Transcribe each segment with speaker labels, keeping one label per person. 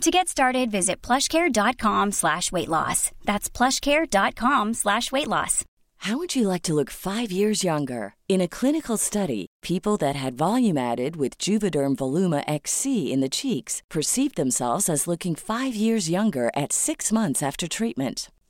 Speaker 1: To get started, visit plushcare.com slash weight loss. That's plushcare.com slash weight loss.
Speaker 2: How would you like to look five years younger? In a clinical study, people that had volume added with Juvederm Voluma XC in the cheeks perceived themselves as looking five years younger at six months after treatment.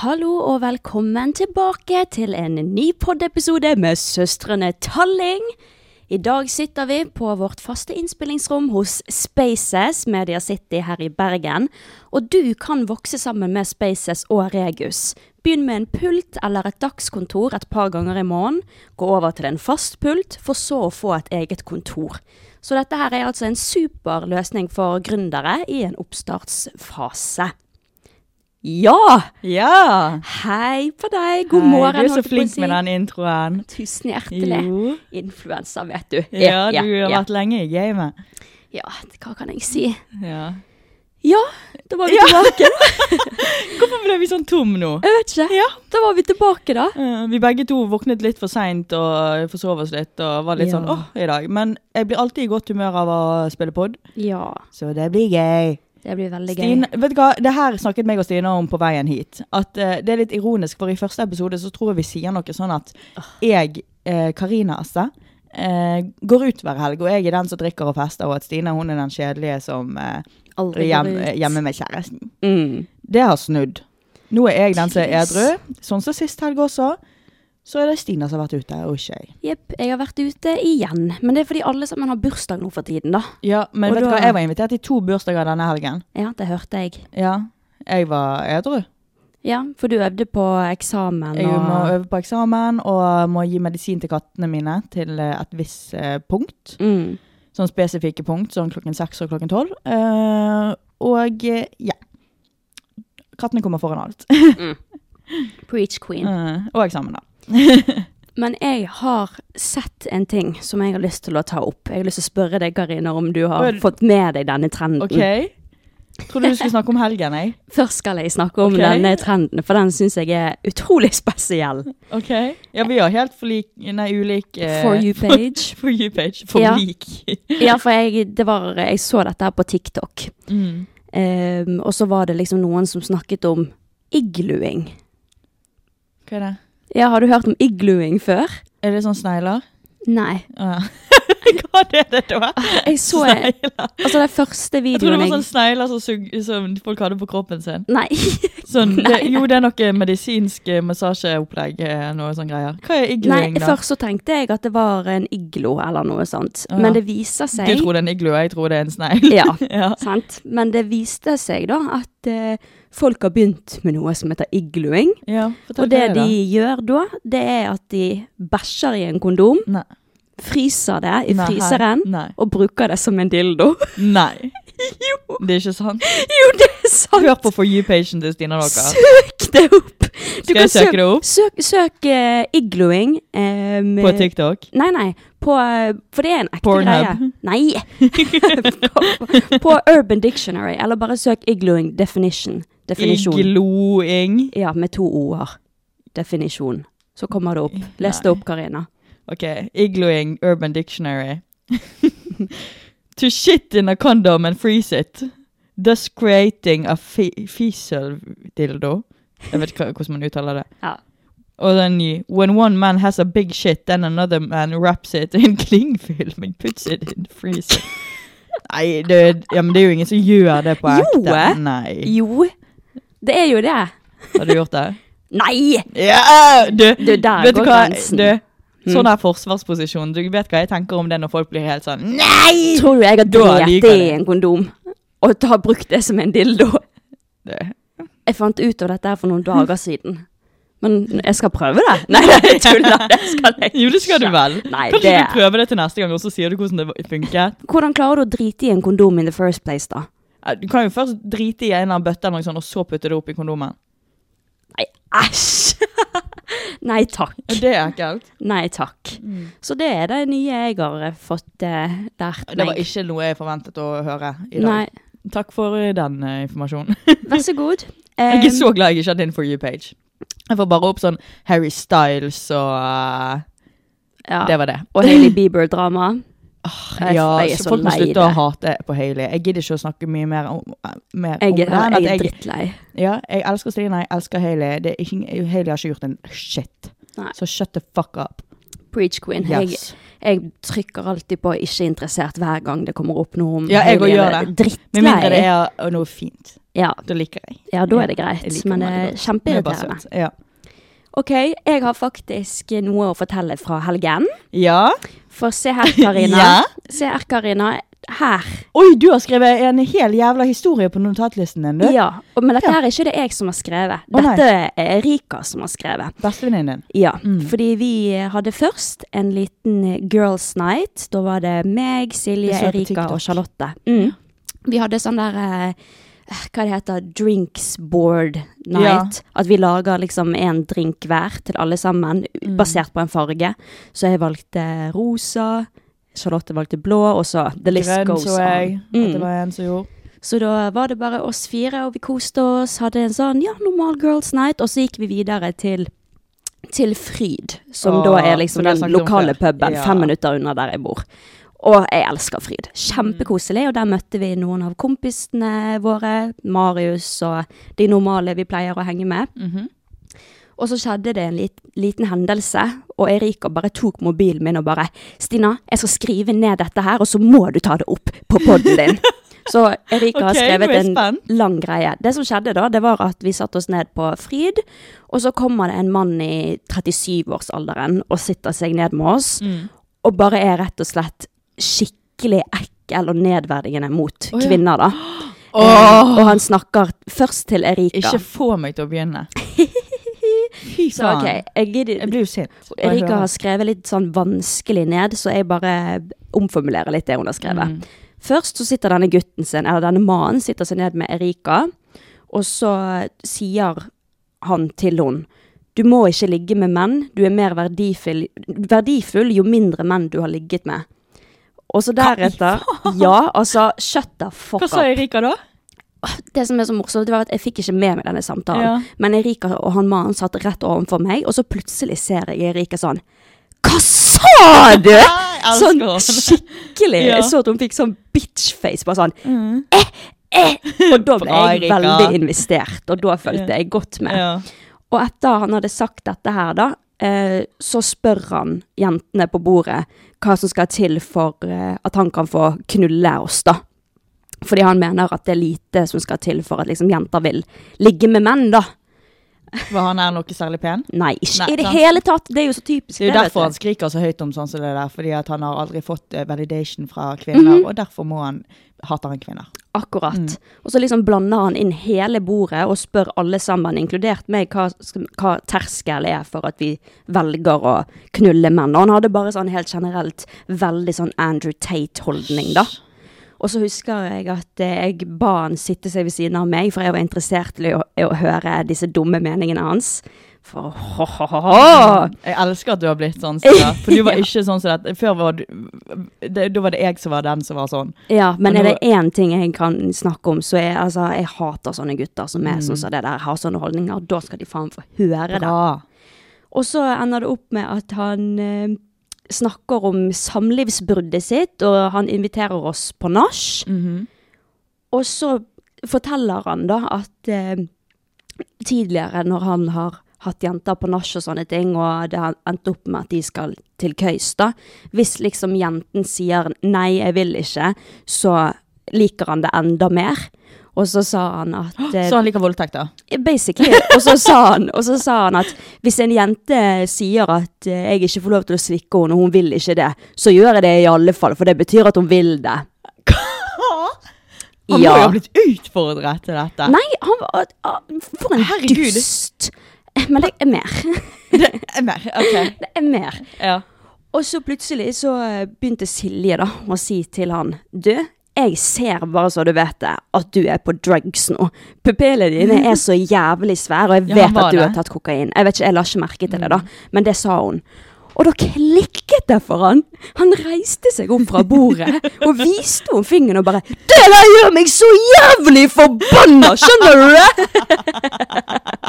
Speaker 3: Hallo og velkommen tilbake til en ny poddepisode med søstrene Talling. I dag sitter vi på vårt faste innspillingsrom hos Spaces Media City her i Bergen. Og du kan vokse sammen med Spaces og Regus. Begynn med en pult eller et dagskontor et par ganger i måneden. Gå over til en fast pult, for så å få et eget kontor. Så dette her er altså en super løsning for gründere i en oppstartsfase. Ja!
Speaker 4: Ja!
Speaker 3: Hei på deg, god
Speaker 4: Hei,
Speaker 3: morgen.
Speaker 4: Du er så
Speaker 3: holdt jeg på å
Speaker 4: flink
Speaker 3: si.
Speaker 4: med den introen.
Speaker 3: Tusen hjertelig.
Speaker 4: Jo.
Speaker 3: Influensa, vet du.
Speaker 4: Ja, du har
Speaker 3: ja.
Speaker 4: vært lenge i gamet.
Speaker 3: Ja, hva kan jeg si?
Speaker 4: Ja.
Speaker 3: Ja, da var vi
Speaker 4: Ja.
Speaker 3: tilbake.
Speaker 4: Hvorfor ble vi sånn tom nå?
Speaker 3: Jeg vet ikke.
Speaker 4: Ja.
Speaker 3: Da var vi tilbake, da.
Speaker 4: Eh, Vi begge to våknet litt for seint og forsov oss litt og var litt
Speaker 3: Ja.
Speaker 4: sånn åh, i dag. Men jeg blir alltid i godt humør av å spille pod,
Speaker 3: Ja,
Speaker 4: så det blir gøy.
Speaker 3: det blir veldig gøy.
Speaker 4: Stine, vet du hva? Det her snakket meg og Stine om på veien hit. At eh, Det er litt ironisk, for i første episode så tror jeg vi sier noe sånn at jeg, eh, Karina Asse, eh, går ut hver helg, og jeg er den som drikker og fester, og at Stine hun er den kjedelige som eh,
Speaker 3: Aldri går
Speaker 4: hjem, eh,
Speaker 3: ut.
Speaker 4: hjemme med kjæresten.
Speaker 3: Mm.
Speaker 4: Det har snudd. Nå er jeg den som er
Speaker 3: Jeez.
Speaker 4: edru, sånn som sist helg også. Så er det Stina som har vært ute, og ikke jeg.
Speaker 3: Jepp, jeg har vært ute igjen. Men det er fordi alle sammen har bursdag nå for tiden, da.
Speaker 4: Ja, men
Speaker 3: Og
Speaker 4: vet du
Speaker 3: da-
Speaker 4: hva, jeg var invitert i to bursdager denne helgen.
Speaker 3: Ja, det hørte jeg.
Speaker 4: Ja, jeg var edru.
Speaker 3: Ja, for du øvde på eksamen
Speaker 4: Jeg må
Speaker 3: og
Speaker 4: øve på eksamen og må gi medisin til kattene mine til eh, et visst eh, punkt.
Speaker 3: mm.
Speaker 4: Sånn spesifikke punkt, sånn klokken seks og klokken tolv. Eh, og eh, ja. Kattene kommer foran alt.
Speaker 3: Preach queen.
Speaker 4: Eh, og eksamen, da.
Speaker 3: Men jeg har sett en ting som jeg har lyst til å ta opp. Jeg har lyst til å spørre deg, Karina, om du har
Speaker 4: Vel-
Speaker 3: fått med deg denne trenden.
Speaker 4: OK? Trodde du skulle snakke om helgen, jeg.
Speaker 3: Først skal jeg snakke om
Speaker 4: Ok.
Speaker 3: denne trenden, for den syns jeg er utrolig spesiell.
Speaker 4: Ok. Ja, vi har helt forlik Nei, ulik eh,
Speaker 3: For you-page.
Speaker 4: For you-page.
Speaker 3: Ja.
Speaker 4: Forlik.
Speaker 3: Ja, for jeg, det var, jeg så dette her på TikTok,
Speaker 4: Mm.
Speaker 3: Ehm, og så var det liksom noen som snakket om igluing.
Speaker 4: Hva er det?
Speaker 3: Ja, har du hørt om igluing før?
Speaker 4: Er det sånn snegler?
Speaker 3: Nei.
Speaker 4: Ja. Hva er det da?
Speaker 3: Jeg så
Speaker 4: Snegler.
Speaker 3: Altså, den første
Speaker 4: Jeg tror det
Speaker 3: videoen
Speaker 4: var
Speaker 3: jeg,
Speaker 4: sånn snegler som, sug- som folk hadde på kroppen sin.
Speaker 3: Nei.
Speaker 4: Sånn, det,
Speaker 3: Nei.
Speaker 4: jo, det er noe medisinsk eh, massasjeopplegg, eh, noe sånn greier. Hva er
Speaker 3: Nei,
Speaker 4: igloing, da?
Speaker 3: først så tenkte jeg at det var en iglo eller noe sånt,
Speaker 4: Å, ja.
Speaker 3: men det viser seg
Speaker 4: Du tror det er en iglo, jeg tror det er en snegl.
Speaker 3: Ja.
Speaker 4: ja.
Speaker 3: Sant? Men det viste seg da at eh, folk har begynt med noe som heter igluing.
Speaker 4: Ja, fortell
Speaker 3: Og det
Speaker 4: hva er
Speaker 3: de gjør da, det er at de bæsjer i en kondom,
Speaker 4: Nei.
Speaker 3: fryser det i
Speaker 4: Nei, her- Mm.
Speaker 3: fryseren
Speaker 4: Nei.
Speaker 3: og bruker det som en dildo.
Speaker 4: Nei.
Speaker 3: jo,
Speaker 4: Det er ikke sant.
Speaker 3: jo, det er sant!
Speaker 4: Hør på For you-pagen til Stina Nocker.
Speaker 3: Søk det opp! Du
Speaker 4: Skal jeg
Speaker 3: kan søke-
Speaker 4: søke det opp
Speaker 3: Søk, søk eh, igloing. eh, med-
Speaker 4: på TikTok?
Speaker 3: Nei, nei. På, eh, for det er en ekte greie.
Speaker 4: Pornhub.
Speaker 3: Nei! på, på Urban Dictionary, eller bare søk igloing definition. Definisjon.
Speaker 4: Igloing.
Speaker 3: ja, med to o-er. Definisjon. Så kommer det opp. Les det
Speaker 4: Nei.
Speaker 3: opp, Karina.
Speaker 4: Ok, igloing Urban Dictionary. to shit in a condom and freeze it. Thus creating a fe- fecal dildo. Jeg vet ikke hva- hvordan man uttaler det.
Speaker 3: Ja.
Speaker 4: Og den ny. When one man has a big shit, then another man wraps it in klingfilm and puts it in freezer. Nei, det, ja, men det er jo ingen som gjør det på
Speaker 3: Jo,
Speaker 4: ekte.
Speaker 3: eh.
Speaker 4: Nei.
Speaker 3: Jo, det er jo det.
Speaker 4: Har du gjort det?
Speaker 3: Nei!
Speaker 4: Ja! Du,
Speaker 3: Du, der
Speaker 4: vet du
Speaker 3: går
Speaker 4: hva?
Speaker 3: grensen.
Speaker 4: Du, sånn
Speaker 3: Mm.
Speaker 4: er forsvarsposisjon. Du vet hva jeg tenker om det når folk blir helt sånn
Speaker 3: Nei! Tror du jeg har
Speaker 4: Da
Speaker 3: drept
Speaker 4: liker
Speaker 3: det i
Speaker 4: jeg det.
Speaker 3: en kondom? Og har brukt det som en dildo?
Speaker 4: Det.
Speaker 3: Jeg fant ut av dette her for noen dager siden. Men jeg skal prøve det. Nei, nei, jeg tuller. Det skal jeg
Speaker 4: Jo, det skal du
Speaker 3: ikke.
Speaker 4: vel.
Speaker 3: Nei,
Speaker 4: Kanskje
Speaker 3: det-
Speaker 4: du prøver det til neste gang, og så sier du hvordan det funket.
Speaker 3: Hvordan klarer du å drite i en kondom in the first place, da?
Speaker 4: Eh, Du kan jo først drite i en eller annen bøtte, eller noe sånt, og så putte det opp i kondomen.
Speaker 3: Nei, æsj! Nei takk.
Speaker 4: Ja, Det er ekkelt.
Speaker 3: Nei takk. Så det er det nye jeg har eh, fått eh, lært meg.
Speaker 4: Det var ikke noe jeg forventet å høre i dag.
Speaker 3: Nei,
Speaker 4: Takk for eh, den eh, informasjonen.
Speaker 3: vær så god. Eh,
Speaker 4: Jeg er så glad jeg ikke hadde en For you-page. Jeg får bare opp sånn Harry Styles og eh,
Speaker 3: ja.
Speaker 4: Det var det.
Speaker 3: Og Hailey Bieber-drama. Jeg-
Speaker 4: Ja,
Speaker 3: jeg er
Speaker 4: så
Speaker 3: så
Speaker 4: folk må
Speaker 3: lei
Speaker 4: slutte
Speaker 3: det.
Speaker 4: å hate på Hailey. Jeg gidder ikke å snakke mye mer om, eh, mer om
Speaker 3: Jeg,
Speaker 4: det.
Speaker 3: er-
Speaker 4: enn at
Speaker 3: jeg er
Speaker 4: jeg-
Speaker 3: drittlei.
Speaker 4: Ja, jeg elsker Stina, jeg elsker Hailey. Det er ikke- Hailey har ikke gjort en shit.
Speaker 3: Nei.
Speaker 4: Så shut the fuck up.
Speaker 3: Preach queen. Jeg,
Speaker 4: Yes.
Speaker 3: jeg trykker alltid på 'ikke interessert' hver gang det kommer opp noe om
Speaker 4: Ja, jeg
Speaker 3: Hailey.
Speaker 4: også gjør
Speaker 3: er
Speaker 4: det. Med mindre det
Speaker 3: Drittlei.
Speaker 4: er uh, noe fint.
Speaker 3: Ja,
Speaker 4: Da liker jeg.
Speaker 3: ja, da er det
Speaker 4: Jeg
Speaker 3: greit,
Speaker 4: liker
Speaker 3: men det
Speaker 4: meg
Speaker 3: er
Speaker 4: godt. Det er bare
Speaker 3: kjempeirriterende.
Speaker 4: søtt. Ja.
Speaker 3: Ok, jeg har faktisk noe å fortelle fra helgen.
Speaker 4: ja.
Speaker 3: For se her, Karina.
Speaker 4: Ja.
Speaker 3: Se her, Karina. Her.
Speaker 4: Oi, du har skrevet en hel jævla historie på notatlisten din, du.
Speaker 3: Ja. og- Men dette
Speaker 4: Ja.
Speaker 3: her er ikke det jeg som har skrevet.
Speaker 4: Å, nei.
Speaker 3: Dette er Erika som har skrevet.
Speaker 4: Bestevenninnen din.
Speaker 3: Ja,
Speaker 4: Mm.
Speaker 3: fordi vi hadde først en liten eh, girls night. Da var det meg, Silje,
Speaker 4: Det så jeg på
Speaker 3: Erika
Speaker 4: TikTok.
Speaker 3: og Charlotte. Mm. Vi hadde sånn der eh, hva det heter, drinks board night. At vi lager liksom en drink hver til alle sammen,
Speaker 4: Mm.
Speaker 3: basert på en farge. Så jeg valgte rosa, Charlotte valgte blå, og så the list
Speaker 4: Grønn,
Speaker 3: goes
Speaker 4: så jeg.
Speaker 3: on.
Speaker 4: At det
Speaker 3: Mm.
Speaker 4: var en som gjorde.
Speaker 3: Så da var det bare oss fire, og vi koste oss, hadde en sånn ja, normal girls night, og så gikk vi videre til til Fryd, som
Speaker 4: Åh,
Speaker 3: da er liksom
Speaker 4: som vi har
Speaker 3: den
Speaker 4: snakket om
Speaker 3: lokale
Speaker 4: før.
Speaker 3: puben
Speaker 4: Ja. Mm.
Speaker 3: fem minutter unna der jeg bor. Og jeg elsker Fryd. Kjempekoselig. Og der møtte vi noen av kompisene våre. Marius og de normale vi pleier å henge med.
Speaker 4: Mhm.
Speaker 3: Og så skjedde det en lit, liten hendelse, og Erika bare tok mobilen min og bare 'Stina, jeg skal skrive ned dette her, og så må du ta det opp på poden din'. Så Erika har
Speaker 4: Ok, nå er
Speaker 3: skrevet
Speaker 4: jeg
Speaker 3: en
Speaker 4: spent.
Speaker 3: lang greie. Det som skjedde da, det var at vi satte oss ned på Fryd, og så kommer det en mann i 37-årsalderen og sitter seg ned med oss,
Speaker 4: Mm.
Speaker 3: og bare er rett og slett skikkelig ekkel og nedverdigende mot
Speaker 4: Å, ja.
Speaker 3: kvinner, da.
Speaker 4: Åh.
Speaker 3: Eh, og han snakker først til Erika.
Speaker 4: Ikke få meg til å begynne. Fy
Speaker 3: så ok,
Speaker 4: faen.
Speaker 3: jeg gidder
Speaker 4: Jeg blir jo sint. bare jeg
Speaker 3: Erika
Speaker 4: hører.
Speaker 3: har skrevet litt sånn vanskelig ned, så jeg bare omformulerer litt det hun har
Speaker 4: Mm.
Speaker 3: skrevet. Først så sitter denne gutten sin, eller denne mannen, sitter seg ned med Erika, og så sier han til hun, du må ikke ligge med menn, du er mer verdifull, verdifull jo mindre menn du har ligget med. Og så deretter, ja, altså, shut the fuck
Speaker 4: Hva
Speaker 3: up
Speaker 4: sa Erika da?
Speaker 3: det som er så morsomt, det var at jeg fikk ikke med meg denne samtalen.
Speaker 4: Ja.
Speaker 3: Men Erika og han mannen satt rett overfor meg, og så plutselig ser jeg Erika sånn Hva sa du?!
Speaker 4: elsker
Speaker 3: Sånn
Speaker 4: henne.
Speaker 3: skikkelig.
Speaker 4: Ja.
Speaker 3: Jeg så at hun fikk sånn bitchface, bare sånn eh, eh. Og da ble
Speaker 4: Bra,
Speaker 3: jeg
Speaker 4: Erika.
Speaker 3: veldig investert, og da følte jeg godt med.
Speaker 4: Ja.
Speaker 3: Og etter han hadde sagt dette her, da, eh, så spør han jentene på bordet hva som skal til for eh, at han kan få knulle oss, da. Fordi han mener at det er lite som skal til for at liksom, jenter vil ligge med menn, da.
Speaker 4: Var han her noe særlig pen?
Speaker 3: Nei, ikke
Speaker 4: Nei,
Speaker 3: i det
Speaker 4: sant.
Speaker 3: hele tatt. Det er jo så typisk.
Speaker 4: Det er jo
Speaker 3: vet
Speaker 4: derfor
Speaker 3: du.
Speaker 4: han skriker så høyt om sånn som det der, fordi at han har aldri fått eh, validation fra kvinner,
Speaker 3: Mhm.
Speaker 4: og derfor må han, hater han kvinner.
Speaker 3: Akkurat.
Speaker 4: Mm.
Speaker 3: Og så liksom blander han inn hele bordet og spør alle sammen, inkludert meg, hva, sk- hva terskel er for at vi velger å knulle menn. Og han hadde bare sånn helt generelt veldig sånn Andrew Tate-holdning, da. Og så husker jeg at eh, jeg ba han sitte seg ved siden av meg, for jeg var interessert i å, i å høre disse dumme meningene hans. For
Speaker 4: Jeg elsker at du har blitt sånn, Silla, for du var ikke sånn som dette. Før var du, det, da var det jeg som var den som var sånn.
Speaker 3: Ja, men
Speaker 4: Men
Speaker 3: er
Speaker 4: nå-
Speaker 3: det én ting jeg kan snakke om, så er altså Jeg hater sånne gutter som er sånn som det der, har sånne holdninger. Da skal de faen få høre det.
Speaker 4: Bra.
Speaker 3: Og så ender det opp med at han eh, snakker om samlivsbruddet sitt, og han inviterer oss på nach.
Speaker 4: Mm-hmm.
Speaker 3: Og så forteller han da at eh, tidligere når han har hatt jenter på nach og sånne ting, og det har endt opp med at de skal til køys, da. Hvis liksom jenten sier 'nei, jeg vil ikke', så liker han det enda mer. Og så sa han at eh,
Speaker 4: Så han liker voldtekter.
Speaker 3: Basically. Og så sa han, og så sa han at hvis en jente sier at eh, jeg ikke får lov til å slikke henne, og hun vil ikke det, så gjør jeg det i alle fall, for det betyr at hun vil det.
Speaker 4: Han må jo
Speaker 3: Ja.
Speaker 4: ha blitt utfordret til dette.
Speaker 3: Nei, han var ah, For en
Speaker 4: Herregud.
Speaker 3: dust! Men det er mer.
Speaker 4: Nei, ok.
Speaker 3: Det er mer.
Speaker 4: Ja.
Speaker 3: Og så plutselig så eh, begynte Silje da å si til han Du, jeg ser bare så du vet det, at du er på drugs nå. Pupillene dine er så jævlig svære, og jeg
Speaker 4: Ja,
Speaker 3: vet
Speaker 4: han var
Speaker 3: at du har
Speaker 4: det. Mm.
Speaker 3: tatt kokain. Jeg vet ikke, jeg la ikke merke til det, da, men det sa hun. Og da klikket det for han. Han reiste seg opp fra bordet og viste henne fingeren og bare 'Det der gjør meg så jævlig forbanna! Skjønner du det?'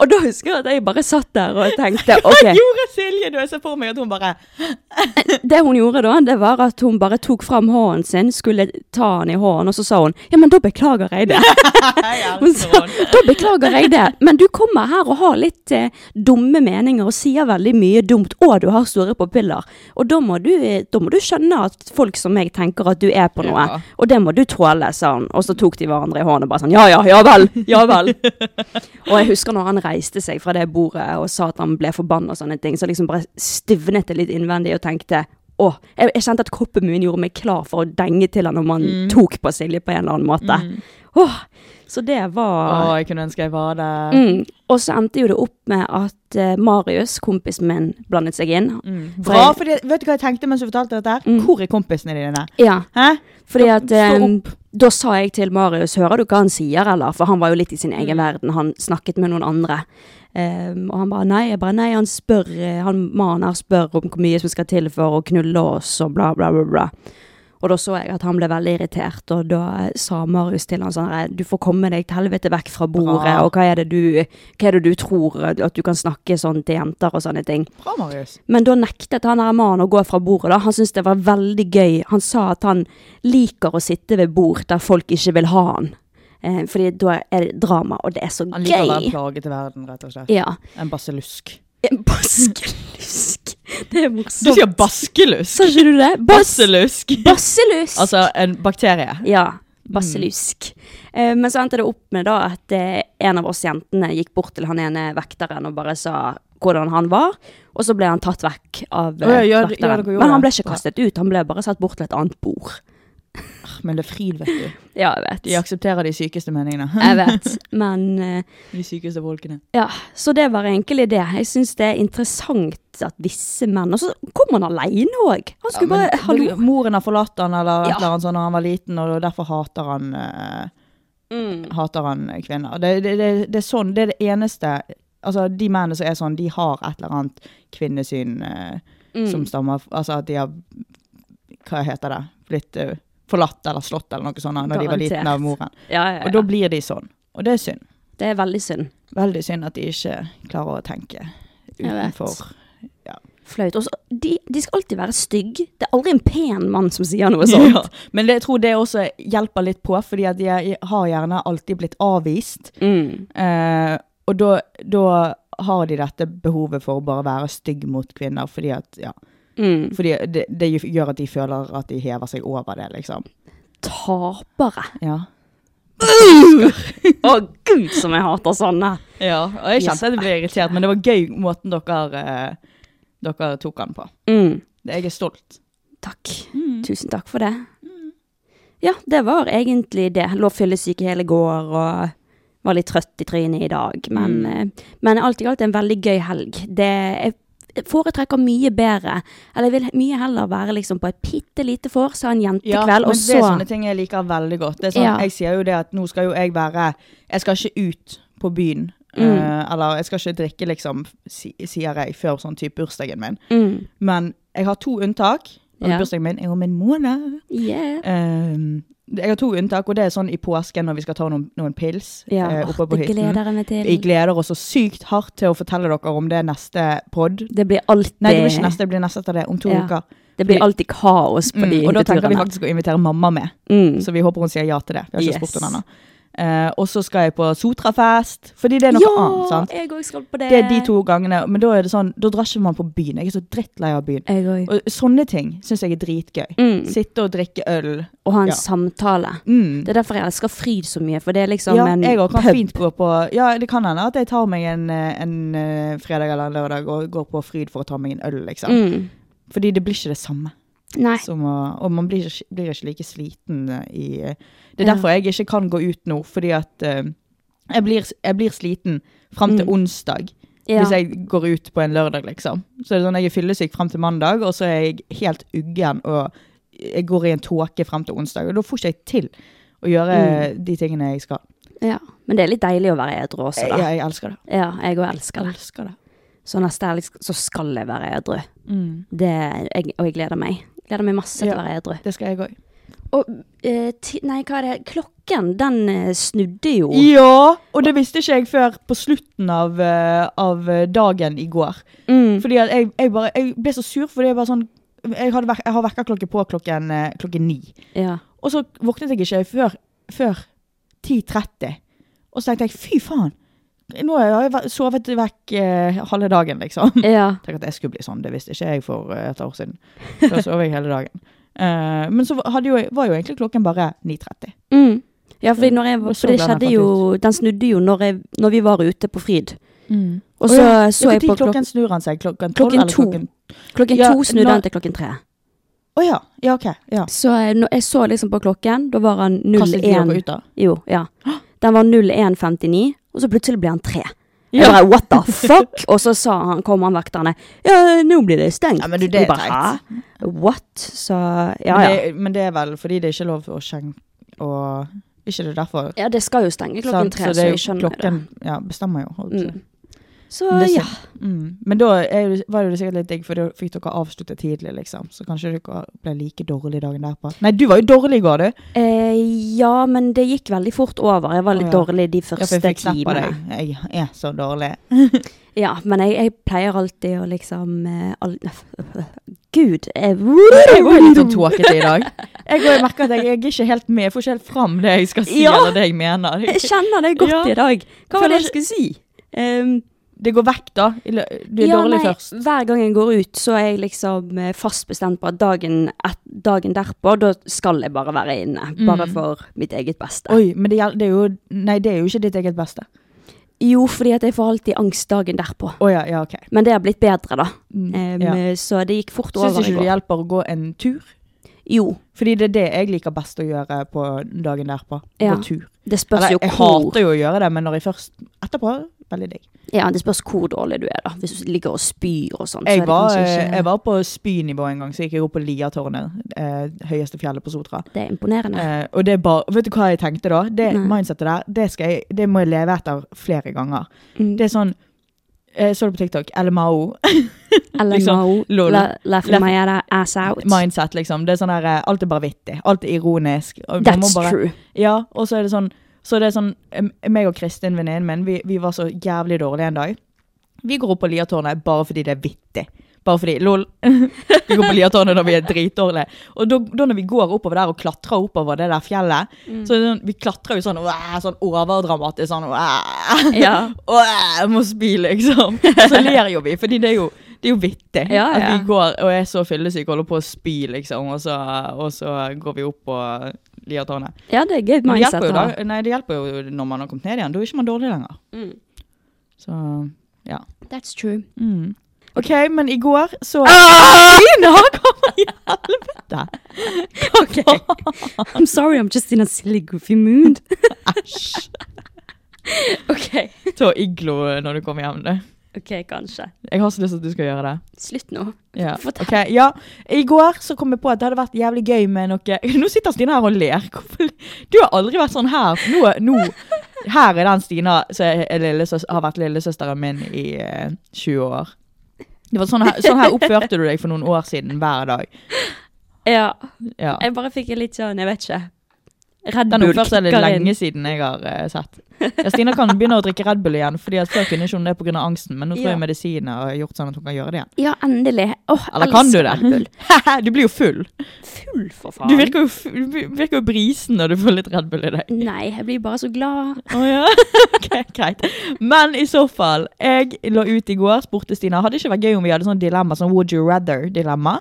Speaker 3: og da husker jeg at jeg bare satt der og tenkte 'OK'.
Speaker 4: Gjorde Silje det? Jeg ser for meg at hun bare
Speaker 3: Det hun gjorde da, det var at hun bare tok fram hånden sin, skulle ta han i hånden, og så sa hun ja, men da beklager jeg det. Hun sa, da beklager jeg det, men du kommer her og har litt eh, dumme meninger og sier veldig mye dumt, og du har store pupiller. Og da må, du, eh, da må du skjønne at folk som meg tenker at du er på noe,
Speaker 4: Ja.
Speaker 3: og det må du tåle, sa hun. Og så tok de hverandre i hånden og bare sånn ja ja, ja vel, ja vel. Og jeg husker når han reiste seg fra det bordet og sa at han ble forbanna og sånne ting, så liksom bare stivnet det litt innvendig og tenkte Åh, jeg, jeg kjente at kroppen min gjorde meg klar for å denge til han om han tok på Silje på en eller annen måte. Åh, så det
Speaker 4: Å,
Speaker 3: var
Speaker 4: jeg kunne ønske jeg var der.
Speaker 3: mm. Og så endte jo det opp med at eh, Marius, kompisen min, blandet seg inn.
Speaker 4: Mm. Bra, Mm. fordi, vet du hva jeg tenkte mens du fortalte dette? her? Hvor er kompisene dine?
Speaker 3: Ja,
Speaker 4: Hæ?
Speaker 3: fordi
Speaker 4: Da-
Speaker 3: at
Speaker 4: stå
Speaker 3: eh, Da sa jeg til Marius, hører du hva han sier, eller? For han var jo litt i sin egen verden, han snakket med noen andre. Ehm, og han bare nei, jeg bare nei, han spør, eh, han mannen her spør om hvor mye som skal til for å knulle oss, og bla, bla, bla, bla. Og da så jeg at han ble veldig irritert, og da eh, sa Marius til han sånn «Nei, Du får komme deg til helvete vekk fra bordet,
Speaker 4: Bra.
Speaker 3: og hva er, det du, hva er det du tror eh, at du kan snakke sånn til jenter og sånne ting?
Speaker 4: Bra, Marius.
Speaker 3: Men da nektet han her mannen å gå fra bordet. da. Han syntes det var veldig gøy. Han sa at han liker å sitte ved bord der folk ikke vil ha han. Eh, fordi da er det drama, og det er så
Speaker 4: Han liker å være en
Speaker 3: gøy.
Speaker 4: plage til verden, rett og slett.
Speaker 3: Ja.
Speaker 4: En basillusk.
Speaker 3: En baskelusk. Det er
Speaker 4: Du
Speaker 3: morsomt.
Speaker 4: sier baskelusk?
Speaker 3: Sa ikke du det? Bas
Speaker 4: Basilusk.
Speaker 3: Basselusk.
Speaker 4: Altså en bakterie.
Speaker 3: Ja, basselusk. Eh, men så endte det opp med da at eh, en av oss jentene gikk bort til han ene vekteren og bare sa hvordan han var, og så ble han tatt vekk av eh,
Speaker 4: Å ja, gjør- gjør
Speaker 3: vekteren.
Speaker 4: dere gjorde
Speaker 3: men han ble
Speaker 4: det?
Speaker 3: ikke kastet ut, han ble bare satt bort til et annet bord.
Speaker 4: Men det er fryd, vet du.
Speaker 3: Ja, jeg vet.
Speaker 4: De aksepterer de sykeste meningene.
Speaker 3: Jeg vet. Men eh,
Speaker 4: De sykeste folkene.
Speaker 3: ja, så det var egentlig det. Jeg syns det er interessant at visse menn Og så kom han aleine òg! Han skulle bare Hallo.
Speaker 4: Moren har forlatt han eller et
Speaker 3: Ja.
Speaker 4: eller annet sånt da han var liten, og derfor hater han, eh,
Speaker 3: Mm.
Speaker 4: hater han kvinner. Det, det, det, det er sånn, det er det eneste Altså, de mennene som er sånn, de har et eller annet kvinnesyn eh,
Speaker 3: Mm.
Speaker 4: som stammer f- Altså at de har Hva heter det? Blitt eh, forlatt eller slått eller noe sånt da de var
Speaker 3: Garantert.
Speaker 4: liten av moren.
Speaker 3: Ja, ja,
Speaker 4: Og
Speaker 3: ja.
Speaker 4: da blir de sånn. Og det er synd.
Speaker 3: Det er veldig synd.
Speaker 4: Veldig synd at de ikke klarer å tenke
Speaker 3: vet.
Speaker 4: utenfor.
Speaker 3: Flaut. Og så, de, de skal alltid være stygge. Det er aldri en pen mann som sier noe sånt.
Speaker 4: Ja, men det, jeg tror det også hjelper litt på, fordi at jeg har gjerne alltid blitt avvist.
Speaker 3: Mm.
Speaker 4: Eh, og da, da har de dette behovet for å bare være stygg mot kvinner, fordi, at, ja,
Speaker 3: Mm.
Speaker 4: fordi det, det gjør at de føler at de hever seg over det, liksom.
Speaker 3: Tapere.
Speaker 4: Ja.
Speaker 3: Å gud, som jeg hater sånne.
Speaker 4: Ja, og jeg kjente at jeg ble irritert, men det var gøy måten dere, eh, dere tok han på.
Speaker 3: Mm.
Speaker 4: Jeg er stolt.
Speaker 3: Takk.
Speaker 4: Mm.
Speaker 3: Tusen takk for det. Ja, det var egentlig det. Lå fyllesyk i hele går og var litt trøtt i trynet i dag. Men,
Speaker 4: Mm.
Speaker 3: eh, men alt i alt en veldig gøy helg. Det jeg foretrekker mye bedre. Eller jeg vil mye heller være liksom på et bitte lite vors, ha en jentekveld,
Speaker 4: men
Speaker 3: og
Speaker 4: det er sånn
Speaker 3: så
Speaker 4: sånne ting jeg liker veldig godt. Det er sånn,
Speaker 3: Ja.
Speaker 4: Jeg sier jo det at nå skal jo jeg være Jeg skal ikke ut på byen. eh, eller jeg skal ikke drikke, liksom, si, sier jeg, før sånn type bursdagen min.
Speaker 3: mm.
Speaker 4: Men jeg har to unntak. Og
Speaker 3: Ja.
Speaker 4: Bursdagen min er om en måned.
Speaker 3: yeah.
Speaker 4: Ehm, jeg har to unntak, og det er sånn i påsken når vi skal ta noen, noen pils
Speaker 3: Ja,
Speaker 4: eh, oppe på
Speaker 3: det
Speaker 4: hytten.
Speaker 3: gleder jeg meg
Speaker 4: Vi
Speaker 3: til.
Speaker 4: gleder oss så sykt hardt til å fortelle dere om det neste pod.
Speaker 3: Det blir alltid,
Speaker 4: Nei, det blir ikke neste, det blir neste etter det. Om to
Speaker 3: Ja,
Speaker 4: uker.
Speaker 3: det blir alltid kaos på
Speaker 4: Mm,
Speaker 3: de
Speaker 4: og da tenker vi
Speaker 3: hytteturene.
Speaker 4: faktisk å invitere mamma med,
Speaker 3: Mm.
Speaker 4: så vi håper hun sier ja til det. Vi har ikke
Speaker 3: Yes.
Speaker 4: spurt henne ennå. Eh, og så skal jeg på Sotrafest, fordi det er noe
Speaker 3: ja,
Speaker 4: annet. sant?
Speaker 3: jeg òg skal på det.
Speaker 4: Det er de to gangene, men da er det sånn, da drar ikke man på byen. Jeg er så drittlei av byen.
Speaker 3: Jeg òg.
Speaker 4: Og sånne ting syns jeg er dritgøy.
Speaker 3: Mm.
Speaker 4: Sitte og drikke øl.
Speaker 3: Å ha en
Speaker 4: Ja.
Speaker 3: samtale.
Speaker 4: Mm.
Speaker 3: Det er derfor jeg elsker Fryd så mye, for det er liksom
Speaker 4: ja,
Speaker 3: en
Speaker 4: jeg også kan
Speaker 3: pub.
Speaker 4: fint gå på Ja, det kan hende at jeg tar meg en, eh, en eh, fredag eller en lørdag og går på Fryd for å ta meg en øl, liksom.
Speaker 3: Mm.
Speaker 4: Fordi det blir ikke det samme.
Speaker 3: Nei.
Speaker 4: Som å, og man blir ikke, blir ikke like sliten eh, i eh, Det er
Speaker 3: Ja.
Speaker 4: derfor jeg ikke kan gå ut nå, fordi at eh, jeg blir, jeg blir sliten fram til
Speaker 3: Mm.
Speaker 4: onsdag
Speaker 3: Ja.
Speaker 4: hvis jeg går ut på en lørdag, liksom. Så det er sånn, jeg er fyllesyk fram til mandag, og så er jeg helt uggen, og jeg går i en tåke fram til onsdag. Og da får ikke jeg til å gjøre
Speaker 3: Mm.
Speaker 4: de tingene jeg skal.
Speaker 3: ja. Men det er litt deilig å være edru også,
Speaker 4: Jeg,
Speaker 3: da.
Speaker 4: jeg elsker det.
Speaker 3: Ja, jeg òg elsker det.
Speaker 4: elsker det.
Speaker 3: Så neste helg sk- så skal jeg være edru.
Speaker 4: Mm.
Speaker 3: Det, jeg, og jeg gleder meg. Gleder meg masse til
Speaker 4: Ja.
Speaker 3: å være edru.
Speaker 4: Det skal jeg òg.
Speaker 3: Og eh, ti, Nei, hva er det? Klokken, den eh, snudde jo.
Speaker 4: Ja! Og det visste ikke jeg før på slutten av, eh, av eh, dagen i går.
Speaker 3: Mm.
Speaker 4: Fordi at jeg, jeg, bare, jeg ble så sur, fordi jeg bare sånn Jeg, hadde, vek- jeg har vekkerklokke på klokken, eh, klokken ni.
Speaker 3: Ja.
Speaker 4: Og så våknet jeg ikke før, før 10.30. Og så tenkte jeg fy faen! Nå har jeg væ- sovet vekk eh, halve dagen, liksom.
Speaker 3: ja.
Speaker 4: Tenk at jeg skulle bli sånn, det visste ikke jeg for eh, et år siden. Da sov jeg hele dagen. Eh, men så hadde jo, var jo egentlig klokken bare 9.30.
Speaker 3: Mm. Ja, fordi når jeg,
Speaker 4: Og så
Speaker 3: for det
Speaker 4: ble den
Speaker 3: skjedde
Speaker 4: faktisk-
Speaker 3: jo Den snudde jo når, jeg, når vi var ute på Fryd. Mm. Og så
Speaker 4: ja.
Speaker 3: så jeg på klok
Speaker 4: klokken snur han seg? Klokken tolv?
Speaker 3: Klokken
Speaker 4: eller
Speaker 3: to.
Speaker 4: klokken-
Speaker 3: klokken
Speaker 4: Ja,
Speaker 3: to snudde
Speaker 4: når-
Speaker 3: den til klokken tre.
Speaker 4: Å ja. Ja, OK. Ja.
Speaker 3: Så jeg, når jeg så liksom på klokken, da var han
Speaker 4: Kastet de dere
Speaker 3: 01
Speaker 4: ut, da?
Speaker 3: Jo, ja. Den var 01.59, og så plutselig ble han 3. Jeg bare, what the fuck? Og så sa han, kom han vekterne, ja, nå blir det stengt.
Speaker 4: Ja, men du, det er
Speaker 3: Vi bare,
Speaker 4: teit.
Speaker 3: «Hæ? What? Så, ja,
Speaker 4: Men,
Speaker 3: ja.
Speaker 4: det, men det er vel fordi det er ikke lov å skjenke og Ikke det er derfor?
Speaker 3: Ja, det skal jo stenge klokken
Speaker 4: sant?
Speaker 3: tre, så,
Speaker 4: det er jo
Speaker 3: jeg skjønner
Speaker 4: klokken,
Speaker 3: det.
Speaker 4: Ja, bestemmer jo. holdt jeg på å si.
Speaker 3: Mm. Så,
Speaker 4: Men det er
Speaker 3: ja.
Speaker 4: Mm. Men da er det, var det jo sikkert litt digg, for da fikk dere avsluttet tidlig, liksom. Så kanskje dere ble like dårlig dagen derpå. Nei, du var jo dårlig i går, du.
Speaker 3: Eh, ja, men det gikk veldig fort over. Jeg var litt
Speaker 4: Å, ja.
Speaker 3: dårlig de
Speaker 4: Ja, for
Speaker 3: første
Speaker 4: jeg fikk snap av
Speaker 3: timene.
Speaker 4: deg. Jeg er så dårlig.
Speaker 3: Ja, men jeg, jeg pleier alltid å liksom eh, al Gud! eh, Jeg,
Speaker 4: Jeg var litt sånn tåkete i dag. Jeg går- jeg merker at jeg, jeg er ikke helt med. Jeg får ikke helt fram det jeg skal si,
Speaker 3: Ja.
Speaker 4: eller det jeg mener.
Speaker 3: Jeg kjenner det godt
Speaker 4: Ja.
Speaker 3: i dag. Hva var
Speaker 4: Føler
Speaker 3: det jeg skulle si? Ehm,
Speaker 4: Det går vekk, da. i lø- Du er
Speaker 3: ja,
Speaker 4: dårlig
Speaker 3: nei,
Speaker 4: først.
Speaker 3: Hver gang jeg går ut, så er jeg liksom eh, fast bestemt på at dagen, et, dagen derpå, da skal jeg bare være inne. Bare
Speaker 4: Mm.
Speaker 3: for mitt eget beste.
Speaker 4: Oi, men det, gjel- det er jo Nei, det er jo ikke ditt eget beste.
Speaker 3: Jo, fordi at jeg får alltid angst dagen derpå.
Speaker 4: Å ja, ja, OK. Mm,
Speaker 3: Men det har blitt bedre, da. Ehm,
Speaker 4: ja.
Speaker 3: Så det gikk fort
Speaker 4: Syns
Speaker 3: over i
Speaker 4: ikke det
Speaker 3: går.
Speaker 4: hjelper å gå en tur?
Speaker 3: Jo,
Speaker 4: Fordi det er det jeg liker best å gjøre på dagen derpå.
Speaker 3: Ja.
Speaker 4: Gå tur.
Speaker 3: det spørs
Speaker 4: Eller,
Speaker 3: jo
Speaker 4: jeg
Speaker 3: hvor
Speaker 4: hater jo å gjøre det, men når jeg først Etterpå, veldig digg.
Speaker 3: Ja, det spørs hvor dårlig du er, da. Hvis du ligger og spyr og sånn. så er
Speaker 4: Jeg
Speaker 3: det
Speaker 4: var,
Speaker 3: kanskje
Speaker 4: eh,
Speaker 3: ikke-
Speaker 4: jeg var på spynivå en gang, så gikk jeg opp på Liatårnet. Eh, høyeste fjellet på Sotra.
Speaker 3: Det er imponerende.
Speaker 4: Eh, og det er bare Vet du hva jeg tenkte da? Det
Speaker 3: Nei.
Speaker 4: mindsetet der, det, skal jeg, det må jeg leve etter flere ganger.
Speaker 3: Mm.
Speaker 4: Det er sånn jeg så det på TikTok. LMAO.
Speaker 3: LMO,
Speaker 4: liksom, lol.
Speaker 3: la, left
Speaker 4: Left-
Speaker 3: my ass out.
Speaker 4: Mindset, liksom. Det er sånn der, eh, Alt er bare vittig. Alt er ironisk. og man må
Speaker 3: That's
Speaker 4: bare-
Speaker 3: true.
Speaker 4: Ja, og så er det sånn Så det er sånn, em, meg og Kristin, venninnen min, vi, vi var så jævlig dårlige en dag. Vi går opp på Liatårnet bare fordi det er vittig. Bare fordi, lol. Vi går på Liatårnet når vi er dritdårlige. Og da, da når vi går oppover der og klatrer oppover det der fjellet,
Speaker 3: Mm.
Speaker 4: så er det sånn, vi klatrer jo sånn, «Åh», sånn overdramatisk, sånn, «Åh».
Speaker 3: Ja.
Speaker 4: Åh, jeg må spy, liksom. Og så ler jo vi, fordi det er jo, det er jo vittig.
Speaker 3: Ja, ja.
Speaker 4: At vi går og er så fyllesyke og holder på å spy, liksom. Og så, og så går vi opp på liatane.
Speaker 3: Ja, det er gøy
Speaker 4: Men det
Speaker 3: mindset
Speaker 4: hjelper,
Speaker 3: å
Speaker 4: jo
Speaker 3: ha.
Speaker 4: da, nei, det hjelper jo når man har kommet ned igjen. Da er ikke man dårlig lenger.
Speaker 3: Mm.
Speaker 4: Så, ja.
Speaker 3: That's true.
Speaker 4: Mm. Ah! OK, men i går så
Speaker 3: Stina!
Speaker 4: Der.
Speaker 3: Okay. I'm sorry, I'm just in a silly goofy mood.
Speaker 4: Æsj!
Speaker 3: Ok,
Speaker 4: Ta iglo når du kommer hjem. du.
Speaker 3: ok, kanskje.
Speaker 4: Jeg har så lyst til at du skal gjøre det.
Speaker 3: Slutt nå.
Speaker 4: Ja.
Speaker 3: Fortell.
Speaker 4: ok, ja. I går så kom jeg på at det hadde vært jævlig gøy med noe Nå sitter Stina her og ler. Hvorfor- Du har aldri vært sånn her. Nå, nå. Her er den Stina som er lillesøs- har vært lillesøsteren min i eh, 20 år. Det var sånn, her, sånn her oppførte du deg for noen år siden hver dag.
Speaker 3: Ja,
Speaker 4: Ja.
Speaker 3: jeg bare fikk en litt sånn, jeg vet ikke. Red
Speaker 4: Den
Speaker 3: Bull
Speaker 4: oppførselen er
Speaker 3: kicker inn.
Speaker 4: lenge siden jeg har eh, sett. Ja, Stina kan begynne å drikke Red Bull igjen, Fordi at før kunne ikke hun det pga. angsten. Men nå tror
Speaker 3: Ja.
Speaker 4: jeg medisiner har gjort sånn at hun kan gjøre det igjen.
Speaker 3: Ja, endelig. Åh, jeg
Speaker 4: Eller kan du
Speaker 3: elsker Red
Speaker 4: det?
Speaker 3: Bull.
Speaker 4: du blir jo full.
Speaker 3: Full for faen.
Speaker 4: Du virker jo, f- du virker jo brisen når du får litt Red Bull i deg.
Speaker 3: Nei, jeg blir bare så glad.
Speaker 4: Å ja. ok, greit. Men i så fall, jeg lå ut i går, spurte Stina Hadde det ikke vært gøy om vi hadde sånn dilemma, sånn would you rather-dilemma